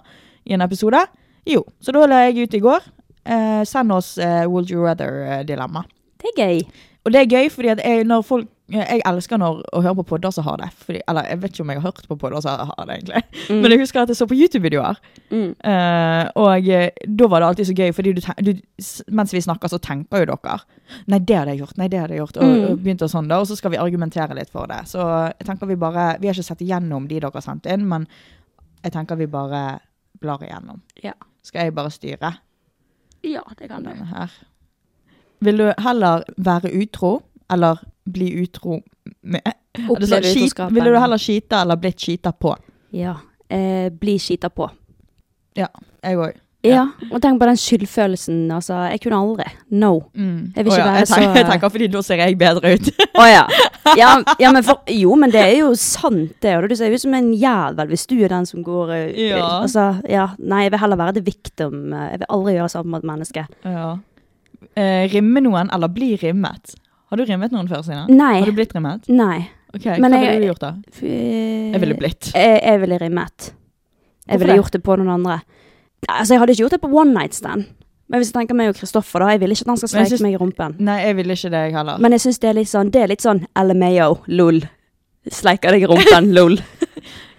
Speaker 4: i en episode? Jo, så da la jeg ut i går. Eh, send oss eh, would you rather-dilemma.
Speaker 3: Det er gøy.
Speaker 4: Og det er gøy, fordi at jeg, når folk eh, jeg elsker når, å høre på podder som har det. Fordi, eller jeg vet ikke om jeg har hørt på podder som har det, egentlig. Men jeg husker at jeg så på YouTube-videoer.
Speaker 3: Mm.
Speaker 4: Eh, og eh, da var det alltid så gøy, fordi du, ten- du, s- mens vi snakker, så tenker jo dere Nei, det hadde jeg gjort. Nei, det hadde jeg gjort. Og,
Speaker 3: Mm.
Speaker 4: og begynte sånn da, og så skal vi argumentere litt for det. Så jeg tenker vi bare Vi har ikke sett igjennom de dere har sendt inn, men jeg tenker vi bare blar igjennom.
Speaker 3: Ja.
Speaker 4: Skal jeg bare styre
Speaker 3: Ja, det kan du.
Speaker 4: denne her? Vil du heller være utro eller bli utro med Er det sånn,
Speaker 3: Oppleve
Speaker 4: skit-
Speaker 3: utroskapen.
Speaker 4: Ville du heller skite eller blitt skita på?
Speaker 3: Ja, eh, bli skita på.
Speaker 4: Jeg òg.
Speaker 3: Ja, og tenk på den skyldfølelsen, altså. Jeg kunne aldri. No.
Speaker 4: Mm.
Speaker 3: Jeg vil ikke
Speaker 4: Å ja,
Speaker 3: være
Speaker 4: jeg tenker,
Speaker 3: så-
Speaker 4: Jeg tenker fordi da ser jeg bedre ut.
Speaker 3: Å ja. Ja, ja men for, jo, men det er jo sant, det. Og du ser ut som en jævel hvis du er den som går eh,
Speaker 4: Ja.
Speaker 3: Altså, ja. Nei, jeg vil heller være the victim. eh, Jeg vil aldri gjøre sammen med et menneske.
Speaker 4: Ja. Eh, rimme noen, eller bli rimmet. Har du rimmet noen før, Sina?
Speaker 3: Nei.
Speaker 4: Har du blitt rimmet?
Speaker 3: Nei.
Speaker 4: Ok,
Speaker 3: Men
Speaker 4: Hva
Speaker 3: jeg-
Speaker 4: ville du gjort da? Jeg ville blitt.
Speaker 3: Jeg, jeg ville rimmet.
Speaker 4: Hvorfor
Speaker 3: Jeg ville
Speaker 4: det?
Speaker 3: gjort det på noen andre. Nei, Altså, jeg hadde ikke gjort det på one night stand. Men hvis jeg tenker meg og Kristoffer, da. Jeg vil ikke at han skal
Speaker 4: Men jeg
Speaker 3: sleike
Speaker 4: syns-
Speaker 3: meg i rumpen.
Speaker 4: Nei, jeg ville ikke det, jeg heller.
Speaker 3: Men jeg syns det er litt sånn Det er litt sånn LMAO, lol. Sleiker deg i rumpen, lol.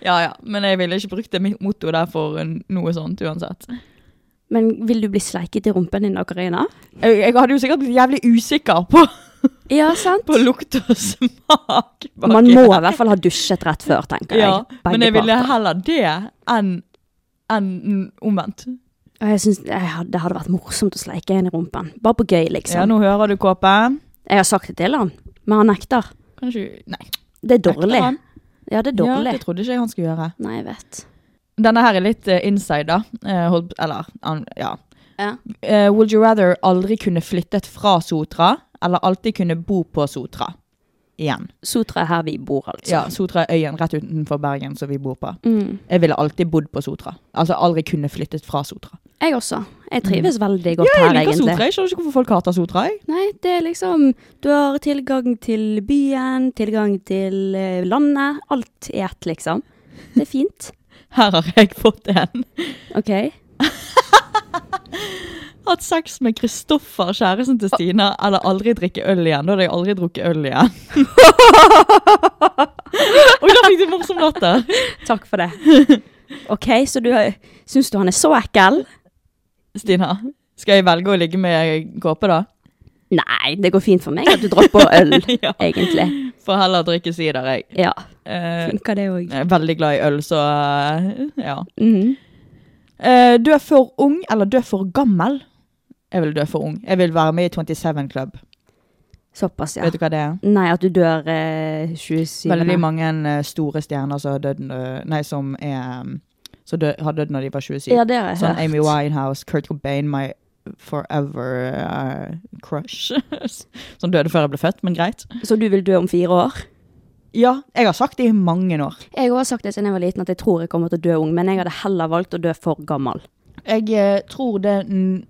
Speaker 4: ja, ja. Men jeg ville ikke brukt det mitt motto der for eh, noe sånt uansett.
Speaker 3: Men vil du bli sleiket i rumpen din av Karina?
Speaker 4: Jeg, jeg hadde jo sikkert blitt jævlig usikker på,
Speaker 3: Ja, sant?
Speaker 4: på lukt og smak. bak
Speaker 3: Man må
Speaker 4: i-
Speaker 3: i hvert fall ha dusjet rett før, tenker
Speaker 4: ja,
Speaker 3: jeg.
Speaker 4: Men jeg ville
Speaker 3: parter.
Speaker 4: heller det enn enn omvendt.
Speaker 3: Og jeg synes, jeg hadde, Det hadde vært morsomt å sleike en i rumpen. Bare på gøy,
Speaker 4: Ja,
Speaker 3: liksom.
Speaker 4: nå hører du, Kåpen.
Speaker 3: Jeg har sagt det til han, men han nekter.
Speaker 4: Kanskje Nei.
Speaker 3: Det er dårlig.
Speaker 4: nekter han?
Speaker 3: Ja, det er
Speaker 4: Ja,
Speaker 3: dårlig.
Speaker 4: det trodde ikke jeg han skulle gjøre.
Speaker 3: Nei, jeg vet.
Speaker 4: Denne her er litt eh, inside, da. Eh, hold, eller an- ja.
Speaker 3: Ja.
Speaker 4: Eh, would you rather aldri kunne flyttet fra Sotra, eller alltid kunne bo på Sotra? Igjen.
Speaker 3: Sotra er her vi bor, altså.
Speaker 4: Ja, Sotra er øyen rett utenfor Bergen som vi bor på.
Speaker 3: Mm.
Speaker 4: Jeg ville alltid bodd på Sotra. Altså aldri kunne flyttet fra Sotra.
Speaker 3: Jeg også. Jeg trives veldig godt
Speaker 4: Mm. Jeg
Speaker 3: her,
Speaker 4: liker
Speaker 3: egentlig.
Speaker 4: Sotra. Jeg skjønner ikke hvorfor folk hater Sotra. Jeg.
Speaker 3: Nei, det er liksom Du har tilgang til byen, tilgang til eh, landet. Alt i ett, liksom. Det er fint.
Speaker 4: Her har jeg fått en.
Speaker 3: OK.
Speaker 4: Hatt sex med Kristoffer, kjæresten til Stina, eller aldri drikke øl igjen. Da hadde jeg aldri drukket øl igjen. Oi, da fikk du morsom latter.
Speaker 3: Takk for det. OK, så du syns du han er så ekkel?
Speaker 4: Stina, skal jeg velge å ligge med kåpe da?
Speaker 3: Nei, det går fint for meg at du dropper øl,
Speaker 4: Ja.
Speaker 3: egentlig.
Speaker 4: For heller drikke sider, jeg.
Speaker 3: Ja,
Speaker 4: Eh,
Speaker 3: funker det òg.
Speaker 4: jeg er veldig glad i øl, så eh, ja.
Speaker 3: Mhm.
Speaker 4: Eh, du er for ung, eller du er for gammel? Jeg vil dø for ung. Jeg vil være med i 27 Club.
Speaker 3: Såpass, ja.
Speaker 4: Vet du hva det er?
Speaker 3: Nei, at du dør eh, 27.
Speaker 4: Veldig mange eh, store stjerner som, har dødd, eh, nei, som, er, um, som dø, har dødd når de var 27.
Speaker 3: Ja, det har jeg
Speaker 4: sånn
Speaker 3: hørt.
Speaker 4: Amy Winehouse, Kurt Cobain, my forever eh, crush. som døde før jeg ble født, men greit.
Speaker 3: Så du vil dø om fire år?
Speaker 4: Ja, jeg har sagt det i mange år.
Speaker 3: Jeg har sagt det siden jeg var liten at jeg tror jeg kommer til å dø ung, men jeg hadde heller valgt å dø for gammel.
Speaker 4: Jeg eh, tror det mm,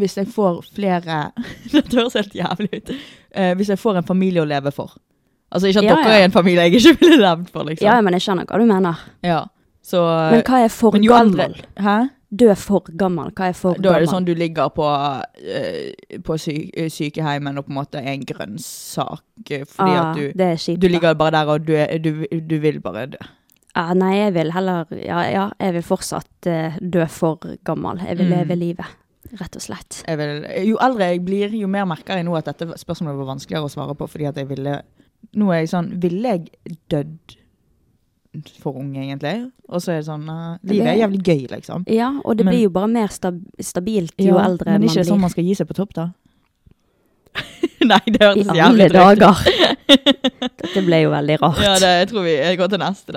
Speaker 4: Hvis jeg får flere Dette høres helt jævlig ut. Eh, hvis jeg får en familie å leve for. Altså ikke at
Speaker 3: Ja,
Speaker 4: dere
Speaker 3: ja.
Speaker 4: er en familie jeg ikke ville levd for, liksom.
Speaker 3: Ja, men jeg skjønner hva du mener.
Speaker 4: Ja. Så eh,
Speaker 3: Men hva er for
Speaker 4: men jo eldre-
Speaker 3: gammel?
Speaker 4: Hæ?
Speaker 3: dø for gammel? Hva er for
Speaker 4: Da er
Speaker 3: gammel?
Speaker 4: det sånn du ligger på, eh, på sy sykeheimen og på en måte er en grønnsak. eh, Fordi
Speaker 3: ah,
Speaker 4: at du,
Speaker 3: det er kjipt,
Speaker 4: du
Speaker 3: da.
Speaker 4: ligger bare der og du, er, du, du vil bare dø.
Speaker 3: Ja, Ah, nei, jeg vil heller Ja, ja jeg vil fortsatt eh, dø for gammel. Jeg vil
Speaker 4: Mm.
Speaker 3: leve livet, rett og slett.
Speaker 4: Jeg vil, jo eldre jeg blir, jo mer merker jeg nå at dette spørsmålet var vanskeligere å svare på. Fordi at jeg ville Nå er jeg sånn Ville jeg dødd for ung, egentlig? Og så er det sånn eh, Livet er jævlig gøy, liksom.
Speaker 3: Ja, og det
Speaker 4: Men-
Speaker 3: blir jo bare mer stab stabilt jo eldre
Speaker 4: men
Speaker 3: man
Speaker 4: ikke
Speaker 3: blir.
Speaker 4: sånn man skal gi seg på topp, da. Nei, det
Speaker 3: I
Speaker 4: hørtes
Speaker 3: alle
Speaker 4: jævlig drøyt ut.
Speaker 3: dager! Dette ble jo veldig rart.
Speaker 4: Ja, det jeg tror vi jeg går til neste, da.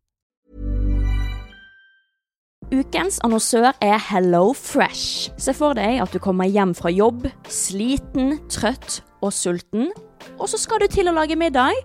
Speaker 3: Ukens annonsør er Hello Fresh. Se for deg at du kommer hjem fra jobb, sliten, trøtt og sulten. Og så skal du til å lage middag,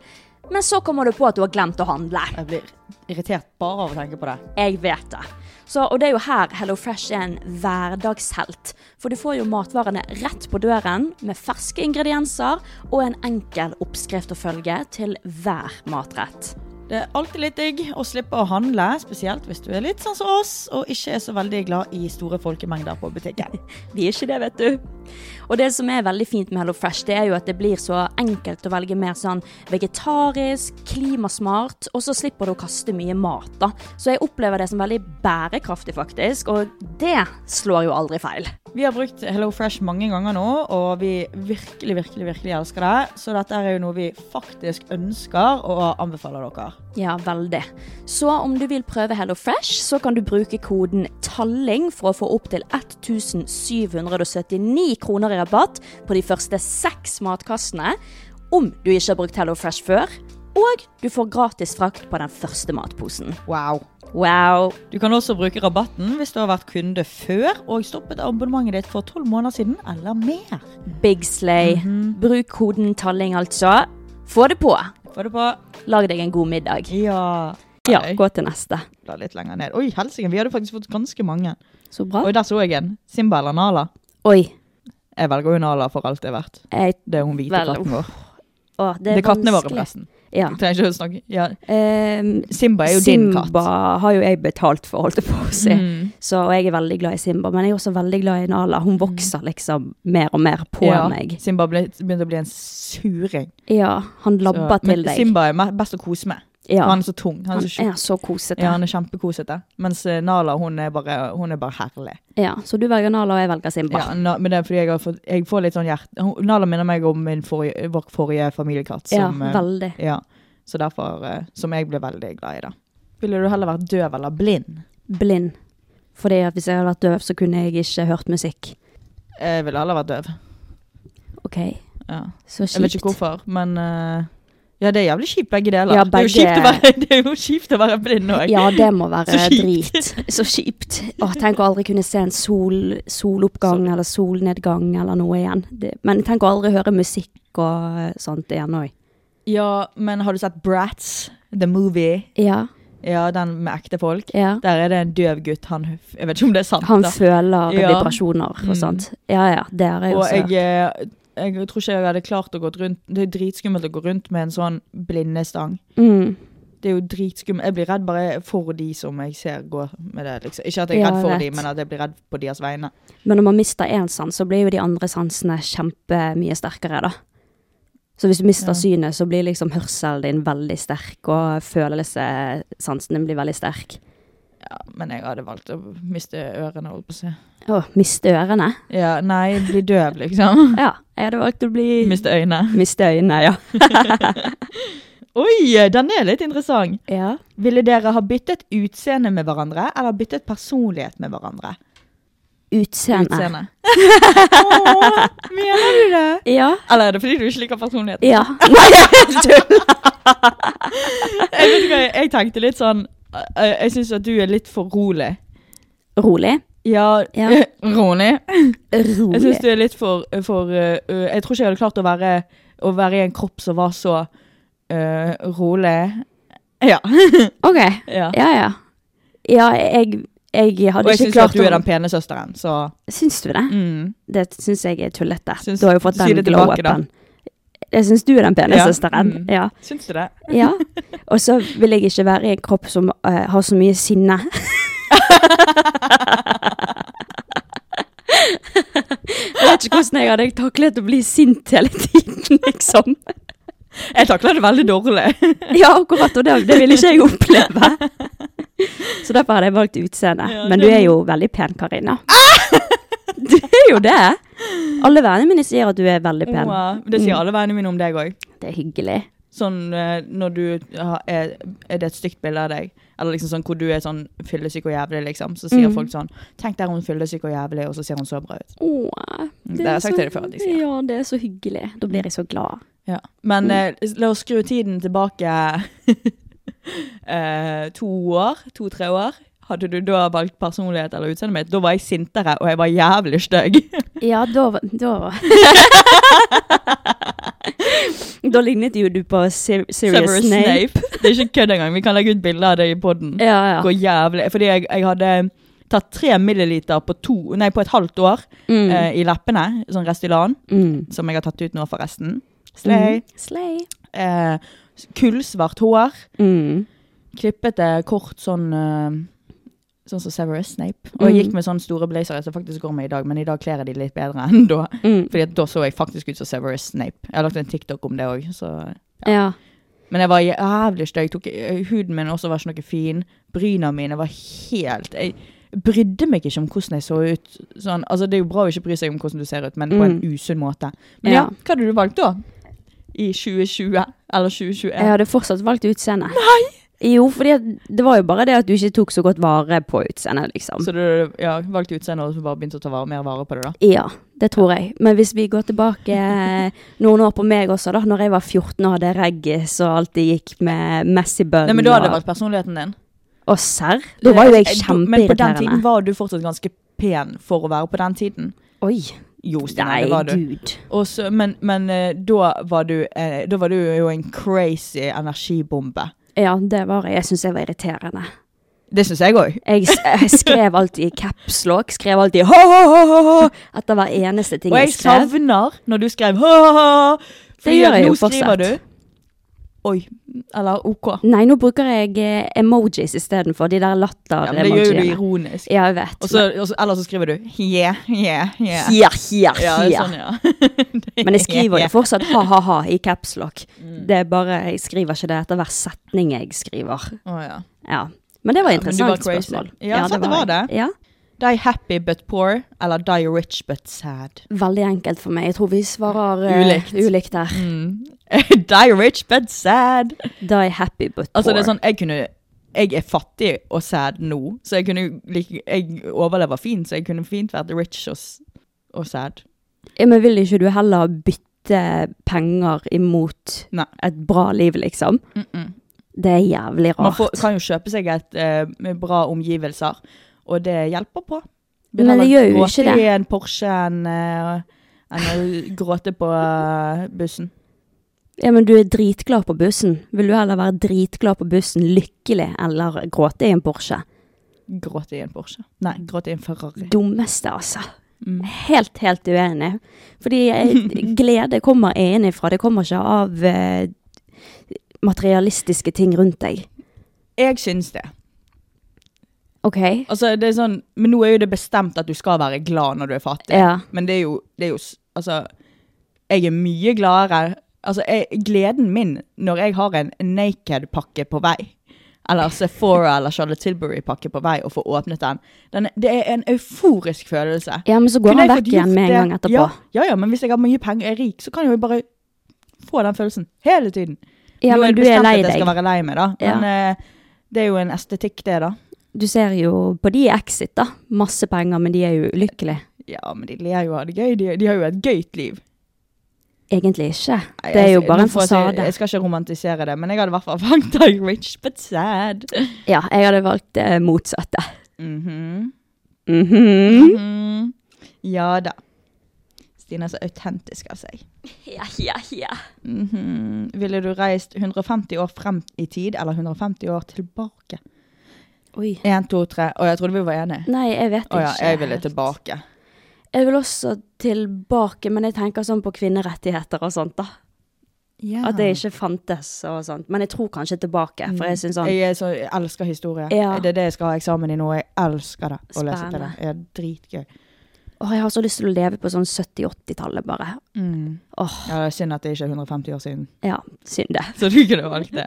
Speaker 3: men så kommer du på at du har glemt å handle.
Speaker 4: Jeg blir irritert bare av å tenke på det.
Speaker 3: Jeg vet det. Så, og det er jo her Hello Fresh er en hverdagshelt. For du får jo matvarene rett på døren med ferske ingredienser og en enkel oppskrift å følge til hver matrett.
Speaker 4: Det er alltid litt digg å slippe å handle, spesielt hvis du er litt sånn som oss og ikke er så veldig glad i store folkemengder på butikken.
Speaker 3: Vi er ikke det, vet du. Og det som er veldig fint med Hello Fresh, det er jo at det blir så enkelt å velge mer sånn vegetarisk, klimasmart, og så slipper du å kaste mye mat, da. Så jeg opplever det som veldig bærekraftig, faktisk, og det slår jo aldri feil.
Speaker 4: Vi har brukt Hello Fresh mange ganger nå, og vi virkelig, virkelig, virkelig elsker det. Så dette er jo noe vi faktisk ønsker og anbefaler dere.
Speaker 3: Ja, veldig. Så om du vil prøve Hello Fresh, så kan du bruke koden TALLING for å få opp til 1779 kroner i rabatt på de første seks matkassene, om du ikke har brukt Hello Fresh før, og du får gratis frakt på den første matposen.
Speaker 4: Wow.
Speaker 3: Wow!
Speaker 4: Du kan også bruke rabatten hvis du har vært kunde før og stoppet abonnementet ditt for tolv måneder siden eller mer.
Speaker 3: Big slay.
Speaker 4: Mhm.
Speaker 3: Bruk koden TALLING, altså. Få det på!
Speaker 4: Få det på.
Speaker 3: Lag deg en god middag.
Speaker 4: Ja.
Speaker 3: Ja,
Speaker 4: Nei,
Speaker 3: gå til neste.
Speaker 4: bla litt lenger ned. Oi, helsike, vi hadde faktisk fått ganske mange.
Speaker 3: Så bra.
Speaker 4: Oi, der så jeg en. Simba eller Nala.
Speaker 3: Oi.
Speaker 4: Jeg velger jo Nala for alt det er verdt.
Speaker 3: Jeg,
Speaker 4: Det er hun hvite
Speaker 3: Vel,
Speaker 4: katten vår.
Speaker 3: å, det
Speaker 4: Det
Speaker 3: er
Speaker 4: er kattene våre,
Speaker 3: vanskelig.
Speaker 4: forresten.
Speaker 3: Ja.
Speaker 4: Jeg trenger ikke å snakke. Ja.
Speaker 3: Um,
Speaker 4: Simba er jo din
Speaker 3: Simba
Speaker 4: katt. Mm.
Speaker 3: har jo jeg betalt for, holdt jeg på å si. Så og jeg er veldig glad i Simba, men jeg er også veldig glad i Nala. Hun vokser liksom mer og mer på
Speaker 4: Ja,
Speaker 3: meg.
Speaker 4: Simba ble, begynte å bli en suring.
Speaker 3: Ja, han
Speaker 4: Så-
Speaker 3: labber
Speaker 4: men
Speaker 3: til deg.
Speaker 4: Simba er me- best å kose med.
Speaker 3: ja,
Speaker 4: For Han
Speaker 3: han,
Speaker 4: er så tung. Han er så tjukk.
Speaker 3: er så kosete.
Speaker 4: Ja,
Speaker 3: Ja,
Speaker 4: han er kjempekosete. Mens eh, Nala hun er bare, hun er bare herlig.
Speaker 3: så du velger Nala, og jeg velger Simba.
Speaker 4: Ja, na, men det er fordi jeg, har fått, jeg får litt sånn hjerte hun- Nala minner meg om min forrige, vår forrige familiekatt.
Speaker 3: Ja,
Speaker 4: Som, eh,
Speaker 3: veldig.
Speaker 4: ja, så derfor eh, Som jeg ble veldig glad i, da. Ville du heller vært døv eller blind?
Speaker 3: Blind. Fordi at hvis jeg hadde vært døv, så kunne jeg ikke hørt musikk.
Speaker 4: Jeg ville heller vært døv.
Speaker 3: OK,
Speaker 4: Ja.
Speaker 3: så
Speaker 4: Jeg vet ikke
Speaker 3: kjipt.
Speaker 4: hvorfor, men eh, Ja, det er jævlig kjipt, begge deler.
Speaker 3: Ja,
Speaker 4: Det, er jo kjipt å
Speaker 3: begge-
Speaker 4: være, det er jo kjipt å være blind òg.
Speaker 3: Ja, det må være
Speaker 4: Så kjipt.
Speaker 3: drit. Så kjipt. Åh, tenk å aldri kunne se en sol, soloppgang eller solnedgang eller noe igjen. Det, men tenk å aldri høre musikk og eh, sånt igjen òg.
Speaker 4: Ja, men har du sett Brats? The Movie?
Speaker 3: Ja,
Speaker 4: Ja, den med ekte folk.
Speaker 3: ja.
Speaker 4: Der er det en døv gutt. Han, jeg vet ikke om det er sant.
Speaker 3: Han
Speaker 4: da.
Speaker 3: føler
Speaker 4: Ja.
Speaker 3: vibrasjoner og sånt. Ja ja, det har jeg
Speaker 4: Og
Speaker 3: også
Speaker 4: jeg,
Speaker 3: hørt.
Speaker 4: eh, jeg tror ikke jeg hadde klart å gå rundt Det er dritskummelt å gå rundt med en sånn blindestang.
Speaker 3: Mm.
Speaker 4: Det er jo dritskummelt. Jeg blir redd bare for de som jeg ser gå med det. liksom. Ikke at jeg er
Speaker 3: Ja,
Speaker 4: redd for
Speaker 3: jeg
Speaker 4: de,
Speaker 3: vet.
Speaker 4: men at jeg blir redd på deres vegne.
Speaker 3: Men når man mister én sans, så blir jo de andre sansene kjempemye sterkere, da. Så hvis du mister
Speaker 4: Ja.
Speaker 3: synet, så blir liksom hørselen din veldig sterk, og følelsessansene blir veldig sterk.
Speaker 4: Ja, men jeg hadde valgt å miste ørene, holdt på å si.
Speaker 3: Å, miste ørene.
Speaker 4: Ja, nei, bli døv, liksom.
Speaker 3: Ja, jeg hadde valgt å bli
Speaker 4: Miste øynene.
Speaker 3: Miste øynene, ja.
Speaker 4: Oi, den er litt interessant.
Speaker 3: ja.
Speaker 4: Ville dere ha byttet utseende med hverandre, eller byttet personlighet med hverandre?
Speaker 3: Utseende.
Speaker 4: Utseende. Åh, mener du det?
Speaker 3: Ja.
Speaker 4: Eller er det fordi du ikke liker personligheten?
Speaker 3: Ja. Nei, jeg tuller.
Speaker 4: Jeg vet ikke, hva, jeg tenkte litt sånn eh, Jeg syns at du er litt for rolig.
Speaker 3: Rolig.
Speaker 4: Ja,
Speaker 3: Ja.
Speaker 4: rolig. Jeg
Speaker 3: Rolig.
Speaker 4: syns du er litt for, for eh, eh, Jeg tror ikke jeg hadde klart å være, å være i en kropp som var så eh, rolig. Ja.
Speaker 3: OK.
Speaker 4: ja.
Speaker 3: Ja, ja. Ja, jeg, jeg
Speaker 4: Og
Speaker 3: hadde
Speaker 4: jeg
Speaker 3: ikke
Speaker 4: syns at
Speaker 3: klart
Speaker 4: du er den pene søsteren, så
Speaker 3: Syns du det?
Speaker 4: mm.
Speaker 3: Det syns jeg er tullete.
Speaker 4: Syns-
Speaker 3: du har jo fått
Speaker 4: si
Speaker 3: den
Speaker 4: det tilbake,
Speaker 3: glow-upen. Jeg syns du er den pene
Speaker 4: Ja.
Speaker 3: søsteren.
Speaker 4: Mm.
Speaker 3: Ja.
Speaker 4: Syns du det?
Speaker 3: ja. Og så vil jeg ikke være i en kropp som eh, har så mye sinne. Jeg vet ikke hvordan jeg hadde taklet å bli sint hele tiden, liksom.
Speaker 4: Jeg takler det veldig dårlig.
Speaker 3: Ja, akkurat, og det, det ville ikke jeg oppleve. Så derfor hadde jeg valgt utseende.
Speaker 4: Ja,
Speaker 3: Men du
Speaker 4: det-
Speaker 3: er jo veldig pen, Karina. Du er jo det. Alle vennene mine sier at du er veldig pen.
Speaker 4: Åh, det sier alle vennene mine om deg òg.
Speaker 3: Det er hyggelig.
Speaker 4: Sånn eh, når du har, er, er det et stygt bilde av deg, eller liksom sånn hvor du er sånn fyllesyk og jævlig, liksom, så sier
Speaker 3: Mm.
Speaker 4: folk sånn 'Tenk der hun fyllesyk og jævlig', og så ser hun så bra ut.
Speaker 3: Åh,
Speaker 4: Det har jeg sagt til deg før at jeg sier.
Speaker 3: Ja, det er så hyggelig. Da blir jeg så glad.
Speaker 4: Ja. Men
Speaker 3: Mm.
Speaker 4: eh, la oss skru tiden tilbake eh, to år, to-tre år. Hadde du da valgt personlighet eller utseende mitt, da var jeg sintere, og jeg var jævlig stygg.
Speaker 3: Ja, da var- Da, var- da lignet jo du på Sir Sirius
Speaker 4: Severus
Speaker 3: Snape.
Speaker 4: Snape. Det er ikke kødd engang. Vi kan legge ut bilder av det i poden.
Speaker 3: Ja, ja.
Speaker 4: Hvor jævlig Fordi jeg, jeg hadde eh, tatt tre milliliter på, to, nei, på et halvt år
Speaker 3: Mm,
Speaker 4: eh, i leppene, sånn Restylan,
Speaker 3: mm,
Speaker 4: som jeg har tatt ut nå, forresten.
Speaker 3: mm.
Speaker 4: Slay.
Speaker 3: Slay.
Speaker 4: Eh, Kullsvart hår.
Speaker 3: Mm.
Speaker 4: klippete, kort sånn eh, Sånn som Severus Snape. Og jeg
Speaker 3: Mm.
Speaker 4: gikk med sånne store blazere som jeg faktisk går med i dag, men i dag kler jeg de litt bedre enn da.
Speaker 3: Mm.
Speaker 4: Fordi at da så jeg faktisk ut som Severus Snape. Jeg har lagt en TikTok om det òg, så
Speaker 3: Ja.
Speaker 4: Men jeg var jævlig stygg. Tok- eh, Huden min også var ikke noe fin. Bryna mine var helt Jeg brydde meg ikke om hvordan jeg så ut. Sånn, altså Det er jo bra å ikke bry seg om hvordan du ser ut, men på en
Speaker 3: Mm.
Speaker 4: usunn måte. Men ja,
Speaker 3: Ja.
Speaker 4: hva hadde du valgt da? I 2020? Eller 2021?
Speaker 3: Jeg hadde fortsatt valgt utseende. Nei! Jo, for det var jo bare det at du ikke tok så godt vare på utseendet, liksom.
Speaker 4: Så du ja, valgte utseende og så bare begynte å ta vare, mer vare på det, da?
Speaker 3: Ja, det tror jeg. Men hvis vi går tilbake eh, noen år på meg også, da. Når jeg var 14 og hadde reggis og alltid gikk med Messi-bønn
Speaker 4: Nei, men da hadde det
Speaker 3: og,
Speaker 4: vært personligheten din.
Speaker 3: og serr. Da var jo jeg
Speaker 4: Eh, du- Men på den tiden
Speaker 3: kjempeirriterende.
Speaker 4: var du fortsatt ganske pen for å være på den tiden.
Speaker 3: Oi.
Speaker 4: Jo, Stine,
Speaker 3: Nei,
Speaker 4: det var du.
Speaker 3: gud.
Speaker 4: Og så- men men eh, da, var du, eh, da var du jo en crazy energibombe.
Speaker 3: Ja, det var jeg. Jeg syns jeg var irriterende.
Speaker 4: Det syns jeg òg.
Speaker 3: Jeg, s- jeg skrev alltid i capslock. Skrev alltid ho-ho-ho-ho etter hver eneste ting
Speaker 4: Og jeg
Speaker 3: jeg skrev.
Speaker 4: savner når du skrev ha-ha-ha. Fordi
Speaker 3: gjør
Speaker 4: at
Speaker 3: jeg jo
Speaker 4: nå skriver
Speaker 3: fortsatt.
Speaker 4: du Oi. Eller OK.
Speaker 3: Nei, nå bruker jeg eh, emojis istedenfor. De der
Speaker 4: Ja, men det gjør jo du
Speaker 3: latter-emojiene.
Speaker 4: ironisk.
Speaker 3: Ja, jeg vet.
Speaker 4: Og så- og så- eller så skriver du yeah, yeah, yeah.
Speaker 3: Hia, hia,
Speaker 4: Ja, det er
Speaker 3: hia.
Speaker 4: sånn, ja. Det er
Speaker 3: Men jeg skriver
Speaker 4: yeah.
Speaker 3: jo fortsatt ha-ha-ha i capslock.
Speaker 4: Mm.
Speaker 3: Det er bare, jeg skriver ikke det etter hver setning jeg skriver.
Speaker 4: Å, ja.
Speaker 3: Ja. Men det var et
Speaker 4: Ja, men du
Speaker 3: interessant
Speaker 4: var crazy.
Speaker 3: spørsmål.
Speaker 4: Ja, sant, det var
Speaker 3: jeg.
Speaker 4: det.
Speaker 3: Ja.
Speaker 4: Die happy but poor, eller die rich but sad?
Speaker 3: Veldig enkelt for meg. Jeg tror vi svarer eh,
Speaker 4: Ulikt.
Speaker 3: ulikt der.
Speaker 4: Mm. die rich but sad.
Speaker 3: Die happy but poor.
Speaker 4: Altså det er sånn, jeg kunne... Jeg er fattig og sad nå, så jeg kunne like, jeg overlever fint, så jeg kunne fint vært rich og, s- og sad. sånn-
Speaker 3: ja, men vil ikke du heller bytte penger imot
Speaker 4: Nei.
Speaker 3: et bra liv, liksom? Det er jævlig
Speaker 4: Man
Speaker 3: rart.
Speaker 4: får, kan jo kjøpe seg et eh, med bra omgivelser, og det hjelper på.
Speaker 3: Men det gjør jo ikke
Speaker 4: Gråte
Speaker 3: det.
Speaker 4: i en Porsche enn eh, enn å gråte på eh, bussen.
Speaker 3: Ja, men du er dritglad på bussen. Vil du heller være dritglad på bussen, lykkelig, eller gråte i en Porsche?
Speaker 4: Gråte i en Porsche. Nei, gråte i en Ferrari. Mm.
Speaker 3: dummeste, altså. Helt, helt uenig. Fordi eh, glede kommer innenfra. Det kommer ikke av eh, materialistiske ting rundt deg.
Speaker 4: Jeg syns det.
Speaker 3: OK?
Speaker 4: Altså, det er sånn, men nå er jo det bestemt at du skal være glad når du er fattig.
Speaker 3: Ja.
Speaker 4: Men det er jo, det er jo s- Altså, jeg er mye gladere. Altså, jeg, gleden min når jeg har en naked-pakke på vei, eller Sephora eller Charlotte Tilbury-pakke på vei og få åpnet den. den det er en euforisk følelse.
Speaker 3: Ja, men så går
Speaker 4: Kunne
Speaker 3: han
Speaker 4: jeg
Speaker 3: vekk
Speaker 4: fått
Speaker 3: igjen
Speaker 4: gjort
Speaker 3: med en
Speaker 4: det?
Speaker 3: gang etterpå.
Speaker 4: Ja, ja, ja, men hvis jeg har mye penger og er rik, så kan jeg jo bare få den følelsen hele tiden.
Speaker 3: Ja, men
Speaker 4: Nå det
Speaker 3: du er
Speaker 4: bestemt
Speaker 3: lei
Speaker 4: At jeg
Speaker 3: deg.
Speaker 4: skal være lei meg, da.
Speaker 3: Ja.
Speaker 4: Men eh, det er jo en estetikk, det, da.
Speaker 3: Du ser jo på de i Exit, da. Masse penger, men de er jo ulykkelige.
Speaker 4: Ja, men de ler jo av det gøy. De, de har jo et gøyt liv.
Speaker 3: Egentlig ikke.
Speaker 4: Nei,
Speaker 3: Det er jo
Speaker 4: jeg-
Speaker 3: bare
Speaker 4: nå
Speaker 3: en
Speaker 4: får jeg si-
Speaker 3: fasade.
Speaker 4: Jeg skal ikke romantisere det, men jeg hadde i hvert fall fanget deg rich but sad.
Speaker 3: Ja, jeg hadde valgt det motsatte.
Speaker 4: Mhm.
Speaker 3: Mhm.
Speaker 4: Mhm. Ja da. Stine er så autentisk av seg.
Speaker 3: Ja, ja, ja.
Speaker 4: Mhm. Ville du reist 150 år frem i tid, eller 150 år tilbake?
Speaker 3: Oi.
Speaker 4: 1, 2, 3. Å, jeg trodde vi var enige.
Speaker 3: Nei, jeg vet
Speaker 4: Å
Speaker 3: ikke.
Speaker 4: ja, jeg ville
Speaker 3: helt.
Speaker 4: tilbake.
Speaker 3: Jeg vil også tilbake, men jeg tenker sånn på kvinnerettigheter og sånt, da.
Speaker 4: Ja.
Speaker 3: At det ikke fantes og sånt. Men jeg tror kanskje tilbake, for jeg syns sånn
Speaker 4: Mm. Jeg, er så, jeg elsker historie.
Speaker 3: Ja.
Speaker 4: Det er det jeg skal ha eksamen i nå. Jeg elsker det. Å lese til det.
Speaker 3: Spennende.
Speaker 4: Ja, dritgøy.
Speaker 3: Åh, jeg har så lyst til å leve på sånn 70-80-tallet, bare. Åh,
Speaker 4: Mm. Ja, det er synd at det ikke er 150 år siden.
Speaker 3: ja. Synd det.
Speaker 4: Så du kunne valgt det.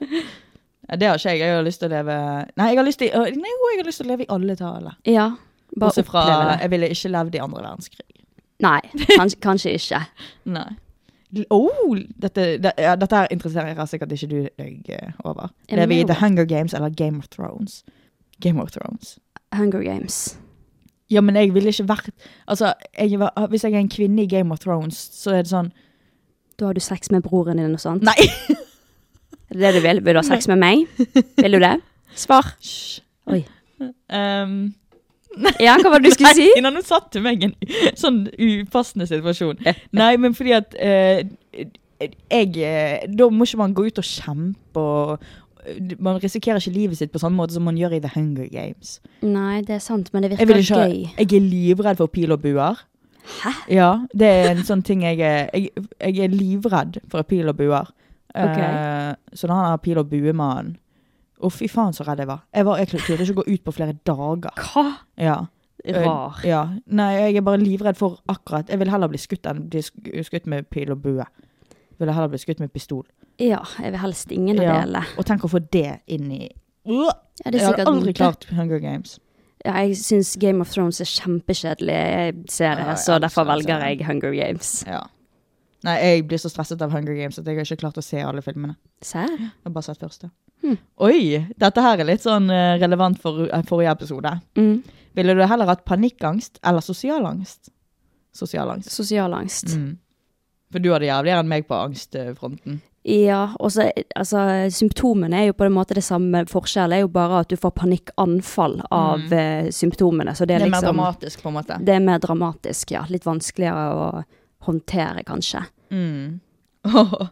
Speaker 4: Ja, det har ikke jeg. Jeg har lyst til å leve Nei, jeg har lyst til, å- nei, jo, jeg har lyst til å leve i alle taler.
Speaker 3: Ja. Bare
Speaker 4: Bortsett fra
Speaker 3: oppleve det.
Speaker 4: Jeg ville ikke levd i andre verdenskrig.
Speaker 3: Nei, kanskje, kanskje ikke.
Speaker 4: Nei. Oh, dette, det, ja, dette her interesserer sikkert ikke du deg eh, over.
Speaker 3: Ja, men
Speaker 4: Leve i
Speaker 3: det er
Speaker 4: The
Speaker 3: jo-
Speaker 4: Hunger Games eller Game of Thrones. Game of Thrones.
Speaker 3: Hunger Games.
Speaker 4: Ja, men jeg ville ikke vært Altså, jeg var, Hvis jeg er en kvinne i Game of Thrones, så er det sånn
Speaker 3: Da har du sex med broren din og sånt.
Speaker 4: Nei!
Speaker 3: Er det det du vil? Vil du ha sex med meg? Vil du det? Svar.
Speaker 4: Hysj.
Speaker 3: Oi.
Speaker 4: Um,
Speaker 3: Ja, hva var det du skulle si?
Speaker 4: Nei, Ina, nå satte du meg i en sånn upassende situasjon. Nei, men fordi at eh, jeg eh, Da må ikke man gå ut og kjempe og eh, Man risikerer ikke livet sitt på sånn måte som man gjør i The Hunger Games.
Speaker 3: Nei, det er sant, men det
Speaker 4: Jeg, vil
Speaker 3: virker
Speaker 4: ikke, ha-
Speaker 3: gøy.
Speaker 4: jeg er livredd for pil og buer.
Speaker 3: Hæ?
Speaker 4: Ja, det er en sånn ting jeg er Jeg, jeg er livredd for pil og buer.
Speaker 3: Ok.
Speaker 4: Eh, så da han har pil og bue-mannen Å, fy faen så redd jeg var. Jeg, var, jeg turte ikke å gå ut på flere dager.
Speaker 3: Hva?
Speaker 4: Ja. Eh,
Speaker 3: Rar.
Speaker 4: Ja. Nei, jeg er bare livredd for akkurat Jeg vil heller bli skutt enn bli sk- skutt med pil og bue. Vil jeg heller bli skutt med pistol.
Speaker 3: Ja, jeg vil helst ingen av
Speaker 4: Ja.
Speaker 3: delene.
Speaker 4: Og tenk å få det inn i Øh!
Speaker 3: Ja, det er
Speaker 4: Jeg hadde
Speaker 3: sikkert
Speaker 4: aldri
Speaker 3: det-
Speaker 4: klart Hunger Games.
Speaker 3: Ja, jeg syns Game of Thrones er kjempekjedelig
Speaker 4: Ja,
Speaker 3: serie,
Speaker 4: jeg
Speaker 3: så derfor
Speaker 4: elsker
Speaker 3: velger
Speaker 4: den serien.
Speaker 3: jeg Hunger Games.
Speaker 4: Ja. Nei, jeg blir så stresset av Hunger Games at jeg har ikke klart å se alle filmene.
Speaker 3: Serr?
Speaker 4: Jeg har bare sett første.
Speaker 3: Hmm.
Speaker 4: Oi! Dette her er litt sånn eh, relevant for eh, forrige episode.
Speaker 3: Mm.
Speaker 4: Ville du heller hatt panikkangst eller sosial angst? Sosial angst.
Speaker 3: Sosial angst.
Speaker 4: Mm. For du hadde jævligere enn meg på angstfronten.
Speaker 3: Ja, og så altså, symptomene er jo på en måte det samme. Forskjellen er jo bare at du får panikkanfall av eh, symptomene. Så det er,
Speaker 4: Mm. Det er mer
Speaker 3: liksom
Speaker 4: dramatisk, på en måte.
Speaker 3: Det er mer dramatisk, ja. Litt vanskeligere å håndtere, kanskje.
Speaker 4: Mm. Åh,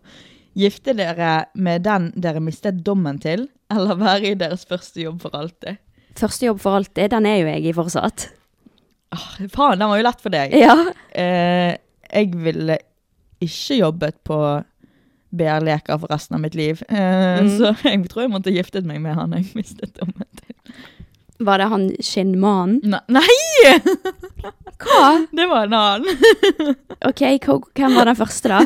Speaker 4: Gifte dere med den dere mistet dommen til, eller være i deres første jobb for alltid?
Speaker 3: Første jobb for alltid, den er jo jeg i fortsatt.
Speaker 4: Åh, Ah, faen, den var jo lett for deg.
Speaker 3: Ja.
Speaker 4: Eh, jeg ville ikke jobbet på BR-leker for resten av mitt liv. Eh,
Speaker 3: Mm.
Speaker 4: Så jeg tror jeg måtte giftet meg med han jeg mistet dommen til.
Speaker 3: Var det han skinnmannen?
Speaker 4: Ne nei!
Speaker 3: Hva?
Speaker 4: Det var en annen.
Speaker 3: Ok, hva- hvem var den første, da?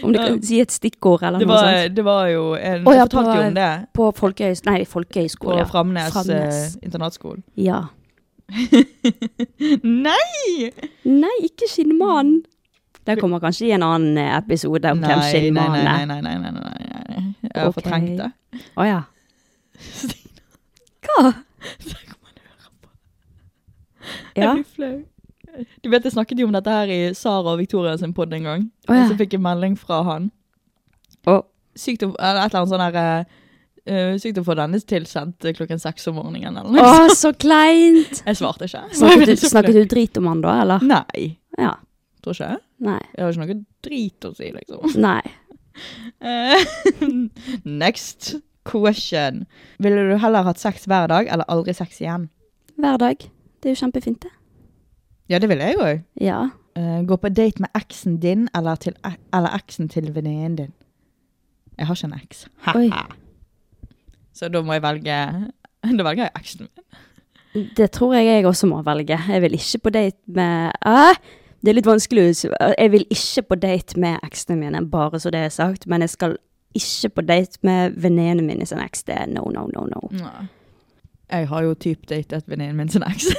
Speaker 3: Om du kan si et stikkord eller
Speaker 4: Det
Speaker 3: noe
Speaker 4: var,
Speaker 3: sånt.
Speaker 4: det var jo en
Speaker 3: Å, ja,
Speaker 4: Jeg fortalte
Speaker 3: på-
Speaker 4: jo om det
Speaker 3: På folkehøys... Nei,
Speaker 4: på
Speaker 3: folkehøyskole. ja.
Speaker 4: Framnes,
Speaker 3: Framnes.
Speaker 4: Eh, internatskole.
Speaker 3: Ja.
Speaker 4: Nei!
Speaker 3: Nei, ikke skinnmannen. Det kommer kanskje i en annen eh, episode om hvem
Speaker 4: nei, nei,
Speaker 3: skinnmannen er.
Speaker 4: nei, nei, nei, nei, nei, nei, nei. Jeg har
Speaker 3: Ok.
Speaker 4: fortrengt det.
Speaker 3: Å ja. Hva?
Speaker 4: Jeg
Speaker 3: Ja.
Speaker 4: blir flau. Du vet, Jeg snakket jo om dette her i Sara og Victoria sin podd en gang.
Speaker 3: Å, ja.
Speaker 4: Og så fikk jeg melding fra han.
Speaker 3: Å.
Speaker 4: Sykt å, eller et eller annet sånn her eh, eh, Sykt å få denne tilsendt eh, klokken seks om morgenen. Eller
Speaker 3: Å,
Speaker 4: noe. sånt.
Speaker 3: så kleint!
Speaker 4: Jeg svarte ikke.
Speaker 3: Snakket du, snakket du drit om han da, eller?
Speaker 4: Nei.
Speaker 3: Ja.
Speaker 4: Tror ikke.
Speaker 3: Nei.
Speaker 4: Jeg har ikke noe drit å si, liksom.
Speaker 3: Nei.
Speaker 4: Eh, Next question. Ville du heller hatt sex hver dag eller aldri sex igjen?
Speaker 3: Hver dag. Det er jo kjempefint, det.
Speaker 4: Ja, det ville jeg òg.
Speaker 3: Ja.
Speaker 4: Eh, gå på date med eksen din eller, til, eller eksen til venninnen din. Jeg har ikke en eks.
Speaker 3: Oi.
Speaker 4: Så da må jeg velge Da velger jeg eksen min.
Speaker 3: Det tror jeg jeg også må velge. Jeg vil ikke på date med Æ? Det er litt vanskelig å s- Jeg vil ikke på date med eksene mine, bare så det er sagt, men jeg skal ikke på date med venninnene mine sin eks. Det er no, no, no, no.
Speaker 4: Jeg har jo typ datet venninnen min sin eks.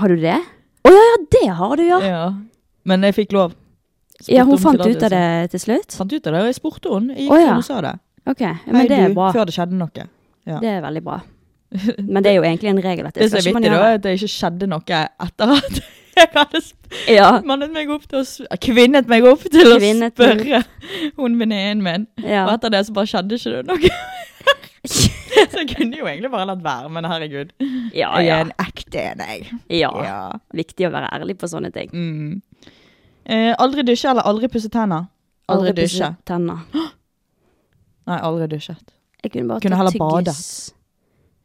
Speaker 3: Har du det? Å ja, ja, det har du, ja.
Speaker 4: ja. Men jeg fikk lov. Spurte
Speaker 3: Ja, hun
Speaker 4: om
Speaker 3: fant ut av
Speaker 4: tillatelse.
Speaker 3: det til slutt?
Speaker 4: Fant ut av det, og jeg spurte henne. Jeg gikk
Speaker 3: Å,
Speaker 4: til
Speaker 3: ja.
Speaker 4: henne og sa det.
Speaker 3: Ok, ja, men
Speaker 4: Hei,
Speaker 3: det
Speaker 4: du,
Speaker 3: er bra.
Speaker 4: Før det skjedde noe. ja.
Speaker 3: Det er veldig bra. Men det er jo egentlig en regel at
Speaker 4: Det
Speaker 3: det
Speaker 4: som
Speaker 3: skal
Speaker 4: er
Speaker 3: ikke man
Speaker 4: vittig, da,
Speaker 3: gjøre.
Speaker 4: er at det ikke skjedde noe etter at jeg hadde sp-
Speaker 3: Ja,
Speaker 4: mannet meg opp til å sp- Kvinnet meg opp til
Speaker 3: Kvinnet
Speaker 4: å
Speaker 3: meg.
Speaker 4: spørre hun venninnen min.
Speaker 3: ja.
Speaker 4: Og etter det så bare skjedde ikke det noe. så jeg kunne jo egentlig bare latt være, men herregud.
Speaker 3: Ja,
Speaker 4: Jeg
Speaker 3: ja.
Speaker 4: er en ekte en, jeg.
Speaker 3: ja.
Speaker 4: Ja.
Speaker 3: Viktig å være ærlig på sånne ting.
Speaker 4: Mm. Eh, aldri dusje eller aldri pusse tenner? Aldri dusje.
Speaker 3: pusset tenner.
Speaker 4: Nei, aldri dusjet.
Speaker 3: Jeg kunne bare
Speaker 4: Kunne
Speaker 3: tatt
Speaker 4: heller bade.
Speaker 3: tyggis.